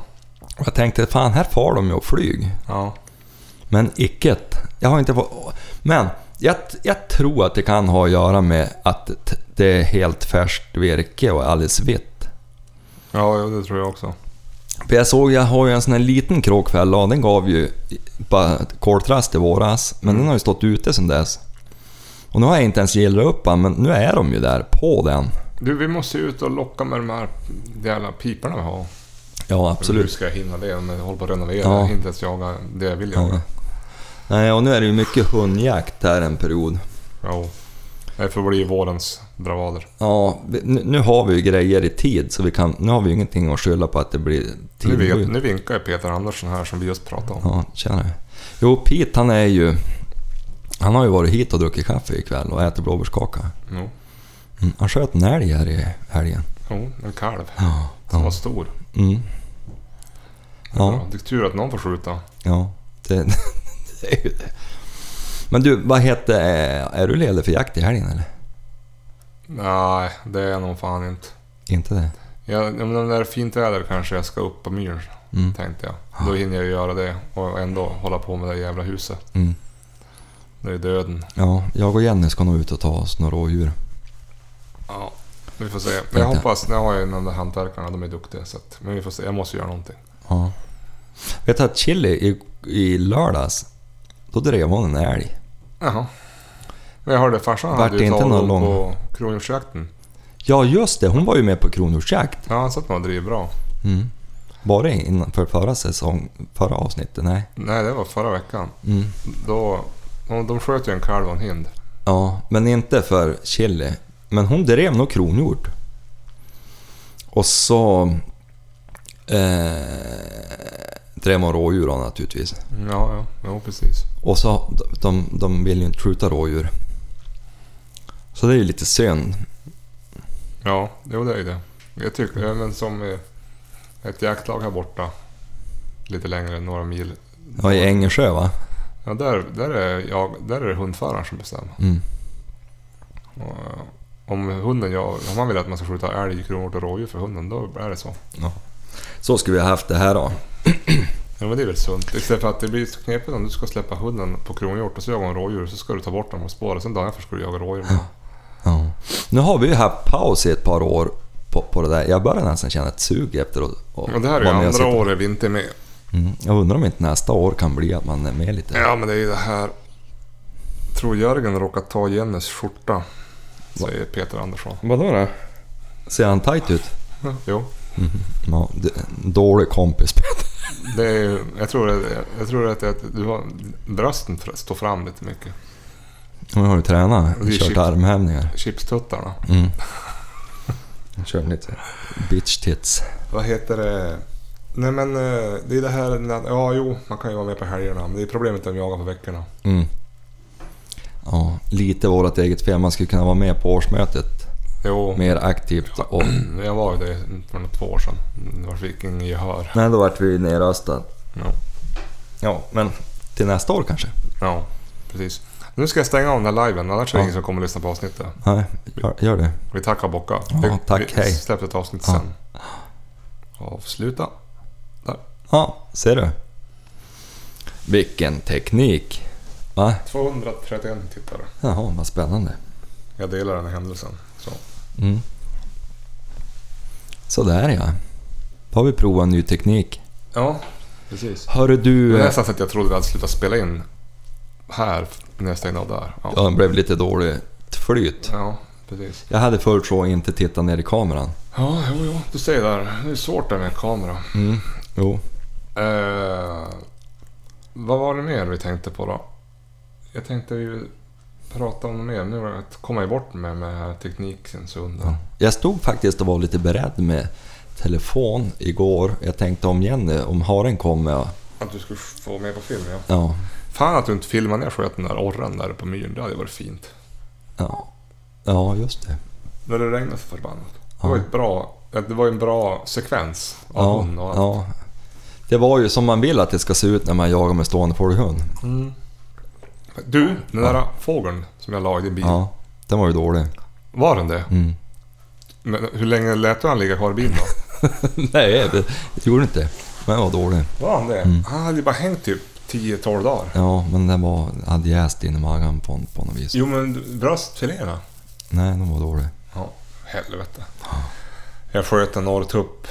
Speaker 2: Och jag tänkte, fan här far de ju och flyg.
Speaker 1: ja.
Speaker 2: Men icket. Jag har inte fått... Men jag, jag tror att det kan ha att göra med att t- det är helt färskt virke och alldeles vitt.
Speaker 1: Ja, jo, det tror jag också.
Speaker 2: För jag såg, jag har ju en sån här liten kråkfälla och den gav ju bara ett koltrast i våras. Men
Speaker 1: Mm.
Speaker 2: den har ju stått ute sedan dess. Och nu har jag inte ens gillrat upp den, men nu är de ju där på den.
Speaker 1: Du, vi måste ju ut och locka med de här jävla piporna vi har.
Speaker 2: Ja, absolut.
Speaker 1: Hur ska jag hinna det? Om jag håller på att renovera.
Speaker 2: Ja.
Speaker 1: Jag hinner inte ens jaga det jag vill jaga.
Speaker 2: Ja.
Speaker 1: Mm.
Speaker 2: Nej, och nu är det ju mycket hundjakt här en period.
Speaker 1: Jo. Därför blir ju vårens bravader.
Speaker 2: Ja, vi- nu, nu har vi ju grejer i tid så vi kan... Nu har vi ju ingenting att skylla på att det blir
Speaker 1: Nu,
Speaker 2: tidskjut.
Speaker 1: vet, nu vinkar ju Peter Andersson här som vi just pratade om.
Speaker 2: Ja, tjenare. Jo, Pete han är ju... Han har ju varit hit och druckit kaffe ikväll och ätit blåbärskaka.
Speaker 1: Jo,
Speaker 2: Mm, han sköt en älg här i helgen.
Speaker 1: jo en kalv.
Speaker 2: Ja.
Speaker 1: Som var
Speaker 2: Ja.
Speaker 1: stor.
Speaker 2: Mm.
Speaker 1: Ja.
Speaker 2: Ja,
Speaker 1: Det är tur att någon får skjuta.
Speaker 2: ja. Det, [LAUGHS] det är ju det. Men du, vad heter... eh, Är du ledig för jakt i helgen eller?
Speaker 1: Nej, det är nog fan inte.
Speaker 2: Inte det?
Speaker 1: Jag, om det är fint väder kanske jag ska upp på myren
Speaker 2: Mm,
Speaker 1: tänkte jag. Då hinner jag ju göra det och ändå hålla på med det jävla huset.
Speaker 2: Mm.
Speaker 1: Det är ju döden.
Speaker 2: Ja, jag och Jenny ska nog ut och ta oss några rådjur.
Speaker 1: Ja, vi får se. Men jag hoppas, nu har jag ju de där hantverkarna, de är duktiga. Så att, men vi får se, jag måste göra någonting.
Speaker 2: Ja. Vet du att Chili i, i lördags, då drev hon en älg.
Speaker 1: Jaha. Men jag hörde farsan
Speaker 2: Vart
Speaker 1: hade
Speaker 2: det
Speaker 1: ju
Speaker 2: inte
Speaker 1: tagit
Speaker 2: någon
Speaker 1: upp
Speaker 2: lång-
Speaker 1: på kronhjortsjakten.
Speaker 2: Ja just det, hon var ju med på kronhjortsjakt.
Speaker 1: Ja, han sa att man driver bra.
Speaker 2: Mm. Var det innanför förra säsong, förra avsnittet? Nej.
Speaker 1: Nej, det var förra veckan.
Speaker 2: Mm.
Speaker 1: Då, de, de sköt ju en kalv och en hind.
Speaker 2: Ja, men inte för chili. Men hon drev nog kronhjort. Och så eh, drev hon rådjur då, naturligtvis.
Speaker 1: Ja, ja, ja precis.
Speaker 2: Och så, de, de vill ju inte skjuta rådjur. Så det är ju lite synd.
Speaker 1: Ja, jo det är ju det. Jag tycker, ja, men som eh, ett jaktlag här borta, lite längre, några mil.
Speaker 2: Ja, i Ängersjö va?
Speaker 1: Ja, där, där, är jag, där är det hundföraren som bestämmer.
Speaker 2: Mm.
Speaker 1: Och, eh, om hunden gör, om man vill att man ska skjuta älg, kronhjort och rådjur för hunden, då är det så.
Speaker 2: Så skulle vi ha haft det här då.
Speaker 1: Ja, men det är väl sunt. Istället för att det blir så knepigt om du ska släppa hunden på kronhjort och så jagar hon rådjur så ska du ta bort dem och spåret. Sen dagen efter ska du jaga rådjur.
Speaker 2: Ja. Nu har vi ju haft paus i ett par år på, på det där. Jag börjar nästan känna ett sug efter att att
Speaker 1: Och det här är ju
Speaker 2: vara med och
Speaker 1: andra
Speaker 2: sitta.
Speaker 1: året vi inte är med.
Speaker 2: Mm. Jag undrar om inte nästa år kan bli att man är med lite.
Speaker 1: Ja, men det är ju det här. Tror Jörgen råkat ta Jennys skjorta. Säger Peter Andersson.
Speaker 2: Vadå då? Ser han tight ut?
Speaker 1: Jo,
Speaker 2: Ja, d- dålig kompis [LAUGHS] Peter.
Speaker 1: det är ju, jag tror, det, jag tror att, att du har, brösten fr- står fram lite mycket.
Speaker 2: Nu har du tränat,
Speaker 1: Det är
Speaker 2: kört
Speaker 1: chips.
Speaker 2: armhävningar.
Speaker 1: Chipstuttarna.
Speaker 2: [LAUGHS] Mm. Kör lite bitch tits.
Speaker 1: Vad heter det? Nej men eh, det är det här, när- ja jo man kan ju vara med på helgerna men det är problemet om jag jagar på veckorna.
Speaker 2: Mm. Ja, lite vårat eget fel. Man skulle kunna vara med på årsmötet
Speaker 1: Jo,
Speaker 2: mer aktivt. Och,
Speaker 1: [CLEARS THROAT] jag var ju det för något två år sedan. Det var- fick ingen gehör.
Speaker 2: nej, då vart vi nerröstade.
Speaker 1: Ja.
Speaker 2: Ja, men till nästa år kanske?
Speaker 1: ja, precis. Nu ska jag stänga av den här liven annars är det
Speaker 2: Ja.
Speaker 1: ingen som kommer att lyssna på avsnittet.
Speaker 2: Nej, gör, gör det.
Speaker 1: Vi tackar och bockar.
Speaker 2: Ja,
Speaker 1: Vi-
Speaker 2: tack,
Speaker 1: vi
Speaker 2: hej.
Speaker 1: släppte ett avsnitt
Speaker 2: Ja.
Speaker 1: sen. Avsluta.
Speaker 2: Ja, ser du? Vilken teknik! Va?
Speaker 1: 231 tittare.
Speaker 2: Jaha, vad spännande.
Speaker 1: Jag delar den här händelsen. Så.
Speaker 2: Mm. Sådär ja. Då har vi provat en ny teknik.
Speaker 1: Ja, precis.
Speaker 2: Hörru
Speaker 1: Det
Speaker 2: du...
Speaker 1: var
Speaker 2: eh,
Speaker 1: nästan så att jag trodde vi hade slutat spela in här när jag stängde av där. Ja,
Speaker 2: Ja, det blev lite dåligt flyt.
Speaker 1: ja precis.
Speaker 2: Jag hade förut så inte titta ner i kameran.
Speaker 1: Ja, jo, jo, du säger det. här. Det är svårt det med kamera.
Speaker 2: Mm. Jo.
Speaker 1: Eh, vad var det mer vi tänkte på då? Jag tänkte ju prata om något mer. Nu var det- kom jag bort med, med den här tekniken så undan.
Speaker 2: Jag stod faktiskt och var lite beredd med telefon igår. Jag tänkte om Jenny, om haren kommer... ja.
Speaker 1: Att du skulle få med på film, ja.
Speaker 2: Ja.
Speaker 1: Fan att du inte filmade när jag sköt den där orren där på myren. Det hade varit fint.
Speaker 2: Ja, ja just det.
Speaker 1: När det regnade så förbannat. Det
Speaker 2: Ja.
Speaker 1: var ju ett bra... Det var ju en bra sekvens av
Speaker 2: Ja,
Speaker 1: hon och allt.
Speaker 2: ja. Det var ju som man vill att det ska se ut när man jagar med stående fågelhund.
Speaker 1: Du, den där fågeln som jag la i din bil.
Speaker 2: Ja, den var ju dålig.
Speaker 1: Var den det?
Speaker 2: Mm.
Speaker 1: Men hur länge lät du han ligga kvar i bilen då?
Speaker 2: [LAUGHS] Nej, det det gjorde inte. Men den var dålig.
Speaker 1: Var han det? Han hade ju bara hängt typ 10-12 dagar.
Speaker 2: Ja, men den var, hade jäst in i magen på, på något vis.
Speaker 1: Jo men du- bröstfiléerna.
Speaker 2: Nej, den var dålig.
Speaker 1: Ja, helvete. Jag sköt en orrtupp.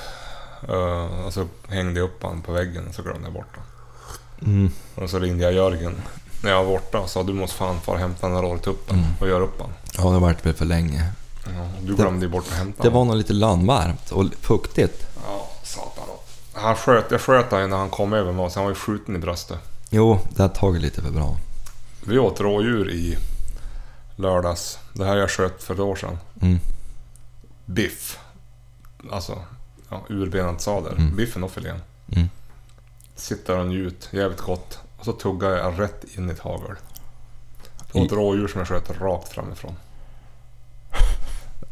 Speaker 1: eh, Och så hängde jag upp han på väggen och så glömde jag bort honom.
Speaker 2: Mm.
Speaker 1: Och så ringde jag Jörgen när jag var borta och sa du måste fan fara och hämta den där orrtuppen och göra upp han.
Speaker 2: Ja, det vart väl för länge.
Speaker 1: Ja, och du glömde ju bort att hämta
Speaker 2: Mm. Det
Speaker 1: han.
Speaker 2: var nog lite landvarmt och fuktigt.
Speaker 1: Ja, satan. Han sköt, jag sköt han ju när han kom över med oss. Han var ju skjuten i bröstet.
Speaker 2: Jo, det har tagit lite för bra.
Speaker 1: Vi åt rådjur i lördags. Det här jag sköt för ett år sedan.
Speaker 2: Mm.
Speaker 1: Biff. Alltså, ja, urbenad sadel. Biffen och filén.
Speaker 2: Mm.
Speaker 1: Sitter och njut, jävligt gott. Och så tuggar jag rätt in i ett hagel. På ett rådjur som jag sköt rakt framifrån.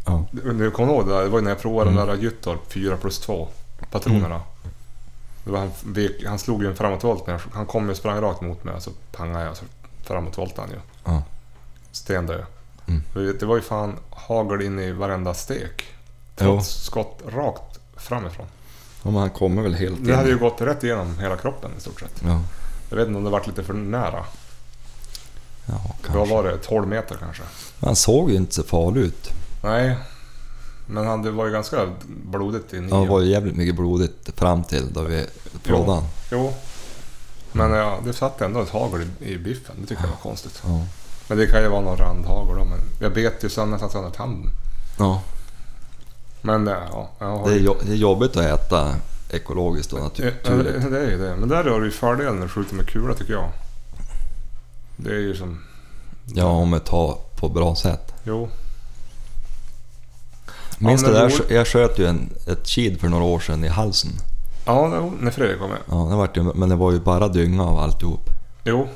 Speaker 2: Ja. Mm.
Speaker 1: Du kommer ihåg det där? Det var ju när jag provade den där Gyttorp 4 plus 2. Patronerna. Det var han, vek, han slog ju en framåtvolt när jag, Han kom och sprang rakt mot mig och så pangade jag och så framåtvoltade han ju.
Speaker 2: Ja.
Speaker 1: Stendö.
Speaker 2: Mm.
Speaker 1: Det var ju fan hagel in i varenda stek.
Speaker 2: Jo.
Speaker 1: Trots skott rakt framifrån.
Speaker 2: Ja, men han kommer väl helt in.
Speaker 1: Det hade ju gått rätt igenom hela kroppen i stort sett.
Speaker 2: Ja,
Speaker 1: Jag vet inte om det varit lite för nära.
Speaker 2: ja
Speaker 1: Vad
Speaker 2: kanske.
Speaker 1: var det? 12 meter kanske?
Speaker 2: Han såg ju inte så farlig ut.
Speaker 1: Nej. Men han, det var ju ganska blodigt i
Speaker 2: Ja,
Speaker 1: nian.
Speaker 2: det var ju jävligt mycket blodigt fram till då vi plådade han.
Speaker 1: Jo. Men ja, det satt ändå ett hagel i, i biffen. Det tycker jag var konstigt.
Speaker 2: Mm. Ja.
Speaker 1: Men det kan ju vara någon randhagel då. Men jag bet ju sen nästan sönder tanden.
Speaker 2: Ja,
Speaker 1: Men eh, ja, jag har
Speaker 2: det är,
Speaker 1: ju-
Speaker 2: jo- det är jobbigt att äta ekologiskt och
Speaker 1: Ja,
Speaker 2: naturligt.
Speaker 1: det, det är ju det. Men där har du ju fördelen när du skjuter med kula tycker jag. Det är ju som...
Speaker 2: Ja, om ett tar på bra sätt.
Speaker 1: Jo.
Speaker 2: Minns
Speaker 1: men
Speaker 2: det där?
Speaker 1: det vore-
Speaker 2: skö- Jag sköt ju en, ett kid för några år sedan i halsen.
Speaker 1: Ja, det, när Fredrik var med.
Speaker 2: Ja, det vart ju, men det var ju bara dynga av alltihop.
Speaker 1: Jo.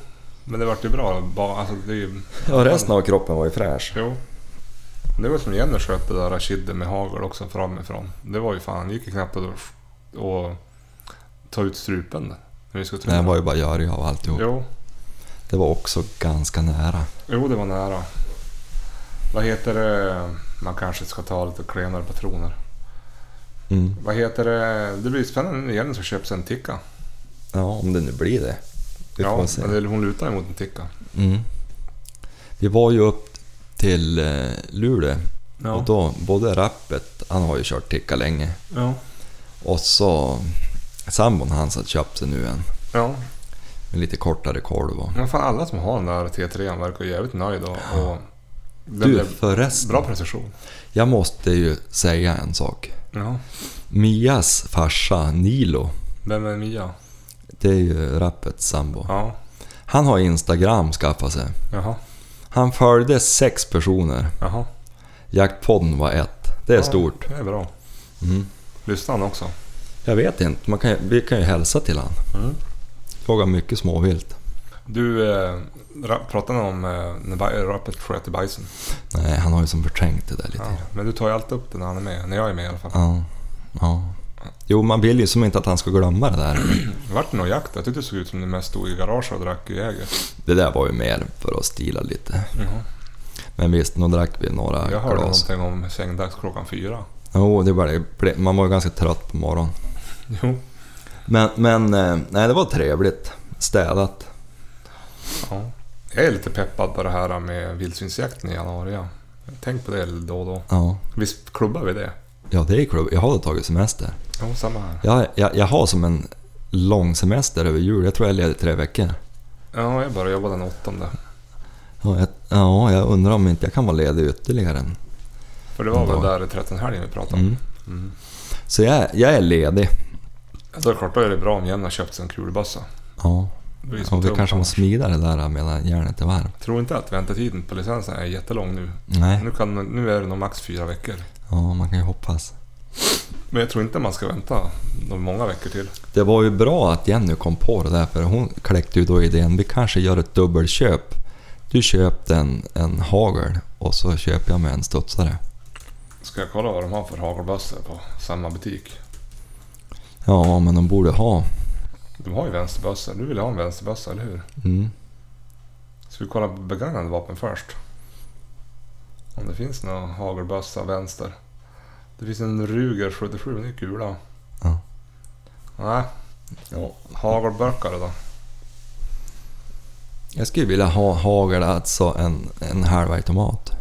Speaker 1: Men det vart ju bra. Bara, alltså, det är ju...
Speaker 2: Ja, resten av kroppen var ju fräsch.
Speaker 1: Jo. Det var som Jenny sköt det där kidden med hagel också framifrån. Det var ju fan, det gick ju knappt att och ta ut strupen där, när vi skulle
Speaker 2: Det
Speaker 1: träna.
Speaker 2: var ju bara görig av alltihop.
Speaker 1: Jo,
Speaker 2: Det var också ganska nära.
Speaker 1: jo, det var nära. Vad heter det? Man kanske ska ta lite klenare patroner.
Speaker 2: Mm.
Speaker 1: Vad heter det? Det blir spännande när Jenny ska köpa sig en ticka.
Speaker 2: Ja, om det nu blir det. Vi får
Speaker 1: Ja,
Speaker 2: se.
Speaker 1: eller hon lutar ju mot en ticka.
Speaker 2: Mm. Vi var ju upp till eh, Luleå och då, både Rappet, han har ju kört Ticka länge,
Speaker 1: ja.
Speaker 2: och så sambon hans hade köpt sig nu en
Speaker 1: ja.
Speaker 2: med lite kortare kolv. Och...
Speaker 1: Men fan alla som har den där T3 verkar ju jävligt nöjd och, och den
Speaker 2: Du
Speaker 1: blev
Speaker 2: förresten,
Speaker 1: bra precision.
Speaker 2: jag måste ju säga en sak.
Speaker 1: Ja.
Speaker 2: Mias farsa Nilo,
Speaker 1: Vem är Mia?
Speaker 2: det är ju Rappets sambo.
Speaker 1: Ja.
Speaker 2: Han har Instagram skaffat sig.
Speaker 1: Jaha.
Speaker 2: Han följde sex personer.
Speaker 1: Jaha.
Speaker 2: Jaktpodden var ett. Det är
Speaker 1: Ja,
Speaker 2: stort.
Speaker 1: Det är bra.
Speaker 2: Mm.
Speaker 1: Lyssnar han också?
Speaker 2: Jag vet inte, man kan, ju- vi kan ju hälsa till han.
Speaker 1: Mm.
Speaker 2: Jagar mycket småvilt.
Speaker 1: Du, eh, ra- pratade om eh, när ba- rappet sköt i bajsen.
Speaker 2: Nej, han har ju som förträngt det där lite.
Speaker 1: Ja.
Speaker 2: Ja.
Speaker 1: Men du tar ju alltid upp det när han är med. När jag är med i alla fall.
Speaker 2: ja. Jo, man vill ju som inte att han ska glömma det där.
Speaker 1: Det vart det någon jakt? Jag tyckte det såg ut som du mest stod i garaget och drack Jäger.
Speaker 2: Det där var ju mer för att stila lite.
Speaker 1: Jaha.
Speaker 2: Men visst, nu drack vi några
Speaker 1: Jag hörde
Speaker 2: glas.
Speaker 1: någonting om sängdags klockan fyra.
Speaker 2: Jo, det var det. Man var ju ganska trött på morgonen.
Speaker 1: Jo.
Speaker 2: Men, men eh, nej, det var trevligt. Städat.
Speaker 1: Ja. Jag är lite peppad på det här med vildsvinsjakten i januari. Ja. Tänk på det då och då.
Speaker 2: Ja.
Speaker 1: Visst klubbar vi det?
Speaker 2: Ja, det är klubb. Jag har tagit semester.
Speaker 1: Jo, samma här.
Speaker 2: Jag, jag, jag har som en lång semester över jul. Jag tror jag är ledig tre veckor.
Speaker 1: Ja, jag börjar jobba den åttonde.
Speaker 2: Ja, jag, ja, jag undrar om inte jag kan vara ledig ytterligare en
Speaker 1: För det var väl
Speaker 2: Ja.
Speaker 1: där 13 helgen vi pratade om.
Speaker 2: Mm. Så jag, jag är ledig.
Speaker 1: Då är det klart, då är det bra om Jenny har köpt sig en kulbössa.
Speaker 2: Ja,
Speaker 1: Det blir som
Speaker 2: och vi
Speaker 1: tungt
Speaker 2: kanske
Speaker 1: annars.
Speaker 2: måste smida det där medan järnet är varmt.
Speaker 1: Tror inte att väntetiden på licensen är jättelång nu.
Speaker 2: Nej,
Speaker 1: Nu, kan, nu är det nog max fyra veckor.
Speaker 2: ja, man kan ju hoppas.
Speaker 1: Men jag tror inte man ska vänta de många veckor till.
Speaker 2: Det var ju bra att Jenny kom på det där, för hon kläckte ju då idén, vi kanske gör ett dubbelköp. Du köpte en, en hagel och så köper jag med en studsare.
Speaker 1: Ska jag kolla vad de har för hagelbössor på samma butik?
Speaker 2: Ja, men de borde ha.
Speaker 1: De har ju vänsterbössor. Du vill ha en vänsterbössa, eller hur?
Speaker 2: Mm.
Speaker 1: Ska vi kolla på begagnade vapen först? Om det finns någon hagelbössa vänster. Det finns en Ruger 77, men det är kula.
Speaker 2: Ja.
Speaker 1: Nej,
Speaker 2: Ja.
Speaker 1: hagelböckare då.
Speaker 2: Jag skulle vilja ha hagel, alltså en, en halv automat.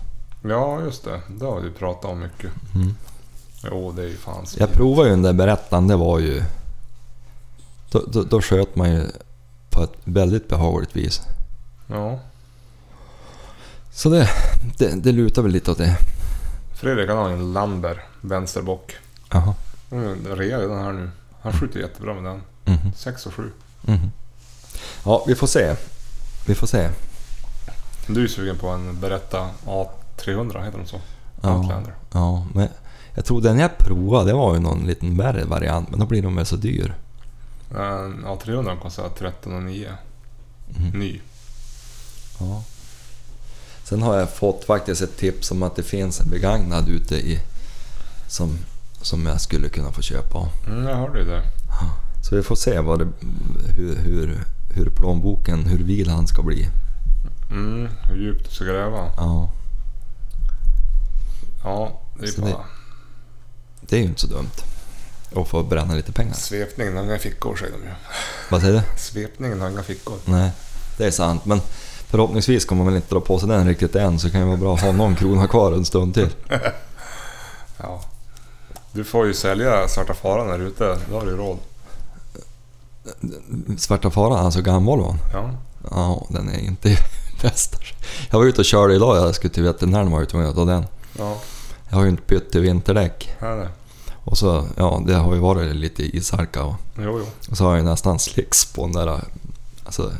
Speaker 1: Ja, just det. Det har vi pratat om mycket.
Speaker 2: Mm.
Speaker 1: Jo, det är ju fan
Speaker 2: Jag provar ju den där berättaren, det var ju... Då, då, då sköt man ju på ett väldigt behagligt vis.
Speaker 1: Ja.
Speaker 2: Så det, det, det lutar väl lite åt det.
Speaker 1: Fredrik han har en Lamber, vänsterbock.
Speaker 2: Jaha.
Speaker 1: Mm, det är Rejäl den här nu. Han skjuter jättebra med den.
Speaker 2: Mhm,
Speaker 1: 6 och 7.
Speaker 2: Ja, vi får se. Vi får se.
Speaker 1: Du är sugen på en Beretta A300, heter de så?
Speaker 2: Ja,
Speaker 1: Outlander.
Speaker 2: ja, men jag tror den jag provade, det var ju någon liten värre variant, men då blir de väl så dyr.
Speaker 1: En A300 kostar 13 och 9.
Speaker 2: Mm.
Speaker 1: Ny.
Speaker 2: Ja. Sen har jag fått faktiskt ett tips om att det finns en begagnad ute i... Som, som jag skulle kunna få köpa av.
Speaker 1: Mm, jag hörde ju det.
Speaker 2: Så vi får se vad det, hur, hur, hur plånboken, hur vil han ska bli.
Speaker 1: Mm, hur djupt du ska gräva.
Speaker 2: Ja,
Speaker 1: Ja, det är
Speaker 2: Så
Speaker 1: bara...
Speaker 2: det- det är ju inte så dumt. och få bränna lite pengar.
Speaker 1: Svepningen har inga fickor säger de ju.
Speaker 2: Vad säger du?
Speaker 1: Svepningen har inga fickor.
Speaker 2: Nej, det är sant. Men förhoppningsvis kommer man inte dra på sig den riktigt än, så kan det vara bra att ha någon krona kvar en stund till.
Speaker 1: Ja. Du får ju sälja Svarta Faran här ute, då har du ju råd.
Speaker 2: Svarta faran, alltså gammalvon.
Speaker 1: Ja.
Speaker 2: Ja, den är inte [LAUGHS] i bästa skick. Jag var ute och körde idag, jag skulle till veterinären var ute och jag den.
Speaker 1: Ja,
Speaker 2: Jag har ju inte bytt till vinterdäck.
Speaker 1: här är det.
Speaker 2: Och så, ja, det har ju varit lite ishalka och,
Speaker 1: Jo, jo.
Speaker 2: och så har jag ju nästan slicks på den där... Alltså,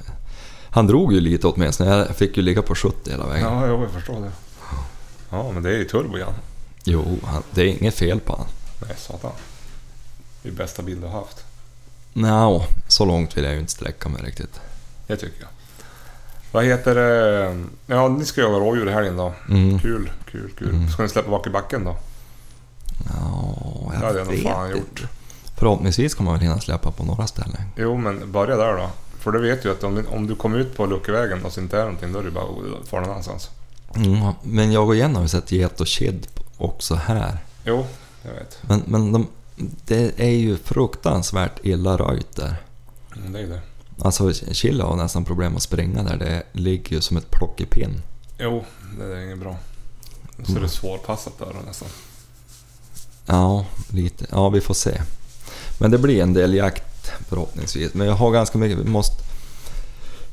Speaker 2: han drog ju lite åtminstone, jag fick ju ligga på 70 hela vägen.
Speaker 1: Ja, jo, jag förstår det. Ja, men det är ju turbo igen.
Speaker 2: Jo, han, det är inget fel på han.
Speaker 1: Nej, satan. Det är bästa bil du har haft.
Speaker 2: Nja, så långt vill jag ju inte sträcka mig riktigt.
Speaker 1: Det tycker jag. Vad heter det? Ja, ni ska jaga rådjur i helgen då.
Speaker 2: Mm.
Speaker 1: Kul, kul, kul.
Speaker 2: Mm.
Speaker 1: Ska ni släppa bak i backen då?
Speaker 2: Ja,
Speaker 1: Det
Speaker 2: jag
Speaker 1: hade jag nog
Speaker 2: vet
Speaker 1: fan
Speaker 2: inte.
Speaker 1: gjort.
Speaker 2: Förhoppningsvis kommer man väl hinna släppa på några ställen.
Speaker 1: Jo, men börja där då. För du vet ju att om, om du kommer ut på luckevägen och så inte är någonting, då är det bara att fara någon annanstans.
Speaker 2: Mm, men jag och Jenny har ju sett get och kid också här.
Speaker 1: Jo, jag vet.
Speaker 2: Men, men de, det är ju fruktansvärt illa röjt där.
Speaker 1: Mm, Det är ju det.
Speaker 2: Alltså Chile har nästan problem att springa där. Det ligger ju som ett plockepinn.
Speaker 1: Jo, det är inget bra. Så är det svårpassat där då nästan.
Speaker 2: Ja, lite. Ja, vi får se. Men det blir en del jakt förhoppningsvis. Men jag har ganska mycket. Vi måste,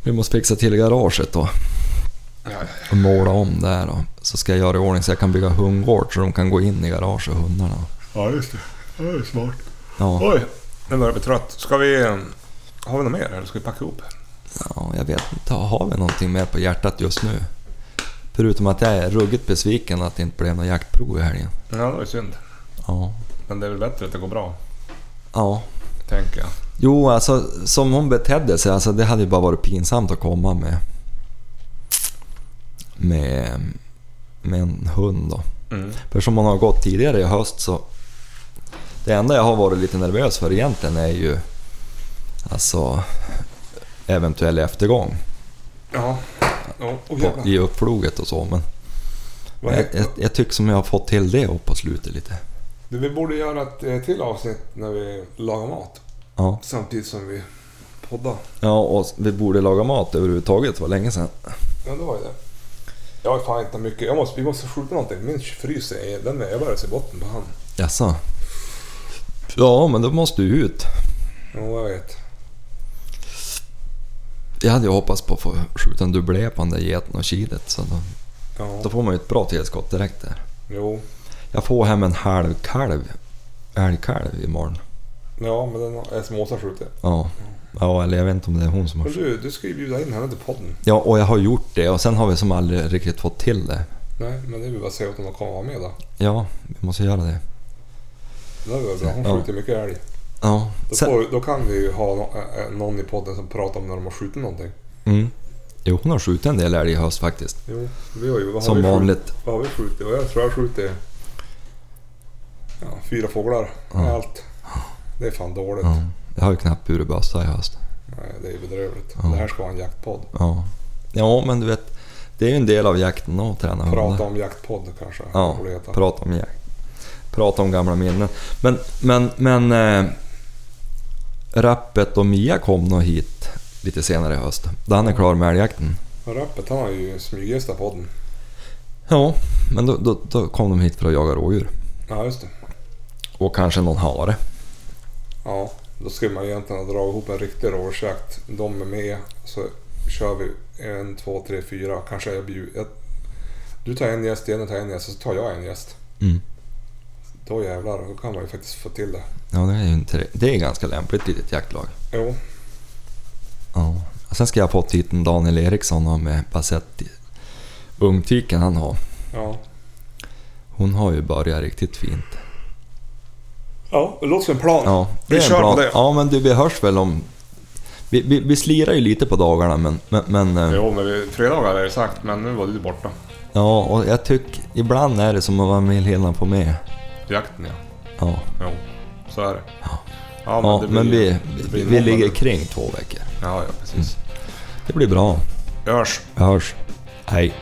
Speaker 2: vi måste fixa till garaget då.
Speaker 1: Ja,
Speaker 2: Och måla om där då. Så ska jag göra i ordning så jag kan bygga hundgård så de kan gå in i garaget, hundarna.
Speaker 1: ja just det. Det är smart.
Speaker 2: Ja,
Speaker 1: Oj, nu börjar jag bli trött. Ska vi... ehm, Har vi något mer eller ska vi packa ihop?
Speaker 2: ja, jag vet inte. Har vi någonting mer på hjärtat just nu? Förutom att jag är ruggigt besviken att det inte blev något jaktprov i helgen.
Speaker 1: Ja, det var ju synd.
Speaker 2: Ja.
Speaker 1: Men det är väl bättre att det går bra,
Speaker 2: Ja.
Speaker 1: tänker jag.
Speaker 2: Jo, alltså som hon betedde sig, alltså, det hade ju bara varit pinsamt att komma med med, med en hund då.
Speaker 1: Mm.
Speaker 2: För som hon har gått tidigare i höst så... Det enda jag har varit lite nervös för egentligen är ju alltså eventuell eftergång
Speaker 1: Ja. Oh, oh,
Speaker 2: på,
Speaker 1: jävlar.
Speaker 2: i uppfloget och så. Men
Speaker 1: Vad
Speaker 2: jag,
Speaker 1: heter-
Speaker 2: jag, jag tycker som jag har fått till det upp på slutet lite.
Speaker 1: Du, vi borde göra ett eh, till avsnitt när vi lagar mat.
Speaker 2: Ja.
Speaker 1: Samtidigt som vi poddar.
Speaker 2: ja, och vi borde laga mat överhuvudtaget. Det var länge sedan.
Speaker 1: Ja, det var ju det. Jag har fan inte mycket. Jag måste, vi måste skjuta någonting. Min frys är... Den är över i botten på han.
Speaker 2: Jaså? Ja, men då måste du ut.
Speaker 1: Jo, jag vet.
Speaker 2: Jag hade ju hoppats på att få skjuta en dubblé på den där geten och kilet. Så då, då
Speaker 1: Ja.
Speaker 2: får man ju ett bra tillskott direkt där.
Speaker 1: Jo.
Speaker 2: Jag får hem en halv kalv, älgkalv imorgon.
Speaker 1: Ja, men den är som Åsa skjutit.
Speaker 2: Ja. ja, eller jag vet inte om det är hon som har
Speaker 1: Men du, du ska ju bjuda in henne till podden.
Speaker 2: Ja, och jag har gjort det och sen har vi som aldrig riktigt fått till det.
Speaker 1: Nej, men det är väl bara att säga åt henne att komma och vara med då.
Speaker 2: Ja, vi måste göra det.
Speaker 1: Det är väl bra. Hon
Speaker 2: Ja.
Speaker 1: skjuter mycket älg.
Speaker 2: Ja,
Speaker 1: Då,
Speaker 2: sen,
Speaker 1: får, då kan vi ju ha nå- eh, eh, någon i podden som pratar om när de har skjutit någonting.
Speaker 2: mm. Jo, hon har skjutit en del älg i höst faktiskt.
Speaker 1: Jo, vi har ju... Vad har
Speaker 2: Som
Speaker 1: vi skjutit?
Speaker 2: vanligt.
Speaker 1: Vad har vi skjutit? Och jag tror jag har skjutit ja, fyra fåglar. Det är
Speaker 2: Ja.
Speaker 1: Allt. Det är fan dåligt.
Speaker 2: Ja. Jag har ju knappt burit bössa i höst.
Speaker 1: Nej, det är bedrövligt.
Speaker 2: Ja.
Speaker 1: Det här ska vara en jaktpodd.
Speaker 2: Ja. ja, men du vet. Det är ju en del av jakten att träna
Speaker 1: Prata om jaktpodd kanske.
Speaker 2: Ja,
Speaker 1: det borde heta.
Speaker 2: prata om jakt. Prata om gamla minnen. Men, men, men... Äh, rappet och Mia kom nog hit lite senare i höst. Då han är klar med älgjakten.
Speaker 1: Men Rappet han har ju smyggästat podden.
Speaker 2: Ja, men då, då, då kom de hit för att jaga rådjur.
Speaker 1: Ja, just det.
Speaker 2: Och kanske någon hare.
Speaker 1: Ja, då skulle man egentligen dra ihop en riktig rådjursjakt. De är med, så kör vi en, två, tre, fyra. Kanske jag bjuder... Jag, du tar en gäst, Jenny tar en gäst och så tar jag en gäst.
Speaker 2: Mm.
Speaker 1: Då jävlar, då kan man ju faktiskt få till det.
Speaker 2: Ja, det är ju inte, det är ganska lämpligt litet jaktlag.
Speaker 1: Jo,
Speaker 2: Ja. Och sen ska jag ha fått hit en Daniel Eriksson och med Basetti. Ungtiken han har.
Speaker 1: ja.
Speaker 2: Hon har ju börjat riktigt fint.
Speaker 1: Ja, det låter som en plan.
Speaker 2: Ja,
Speaker 1: Vi
Speaker 2: det är en
Speaker 1: kör
Speaker 2: bra.
Speaker 1: på det.
Speaker 2: Ja, men du, vi hörs väl om... Vi, vi, vi slirar ju lite på dagarna, men... men, men eh,
Speaker 1: Jo, men vi, fredagar är det sagt, men nu var du borta.
Speaker 2: ja, och jag tycker... Ibland är det som att man vill hela få med.
Speaker 1: Jakten ja.
Speaker 2: Ja,
Speaker 1: Jo, så är det. Ja,
Speaker 2: ja
Speaker 1: det
Speaker 2: men,
Speaker 1: blir-
Speaker 2: vi,
Speaker 1: det
Speaker 2: vi,
Speaker 1: blir
Speaker 2: vi
Speaker 1: måndag.
Speaker 2: ligger kring två veckor.
Speaker 1: Ja, ja precis.
Speaker 2: Det blir bra.
Speaker 1: Hörs.
Speaker 2: Vi hörs. Hej.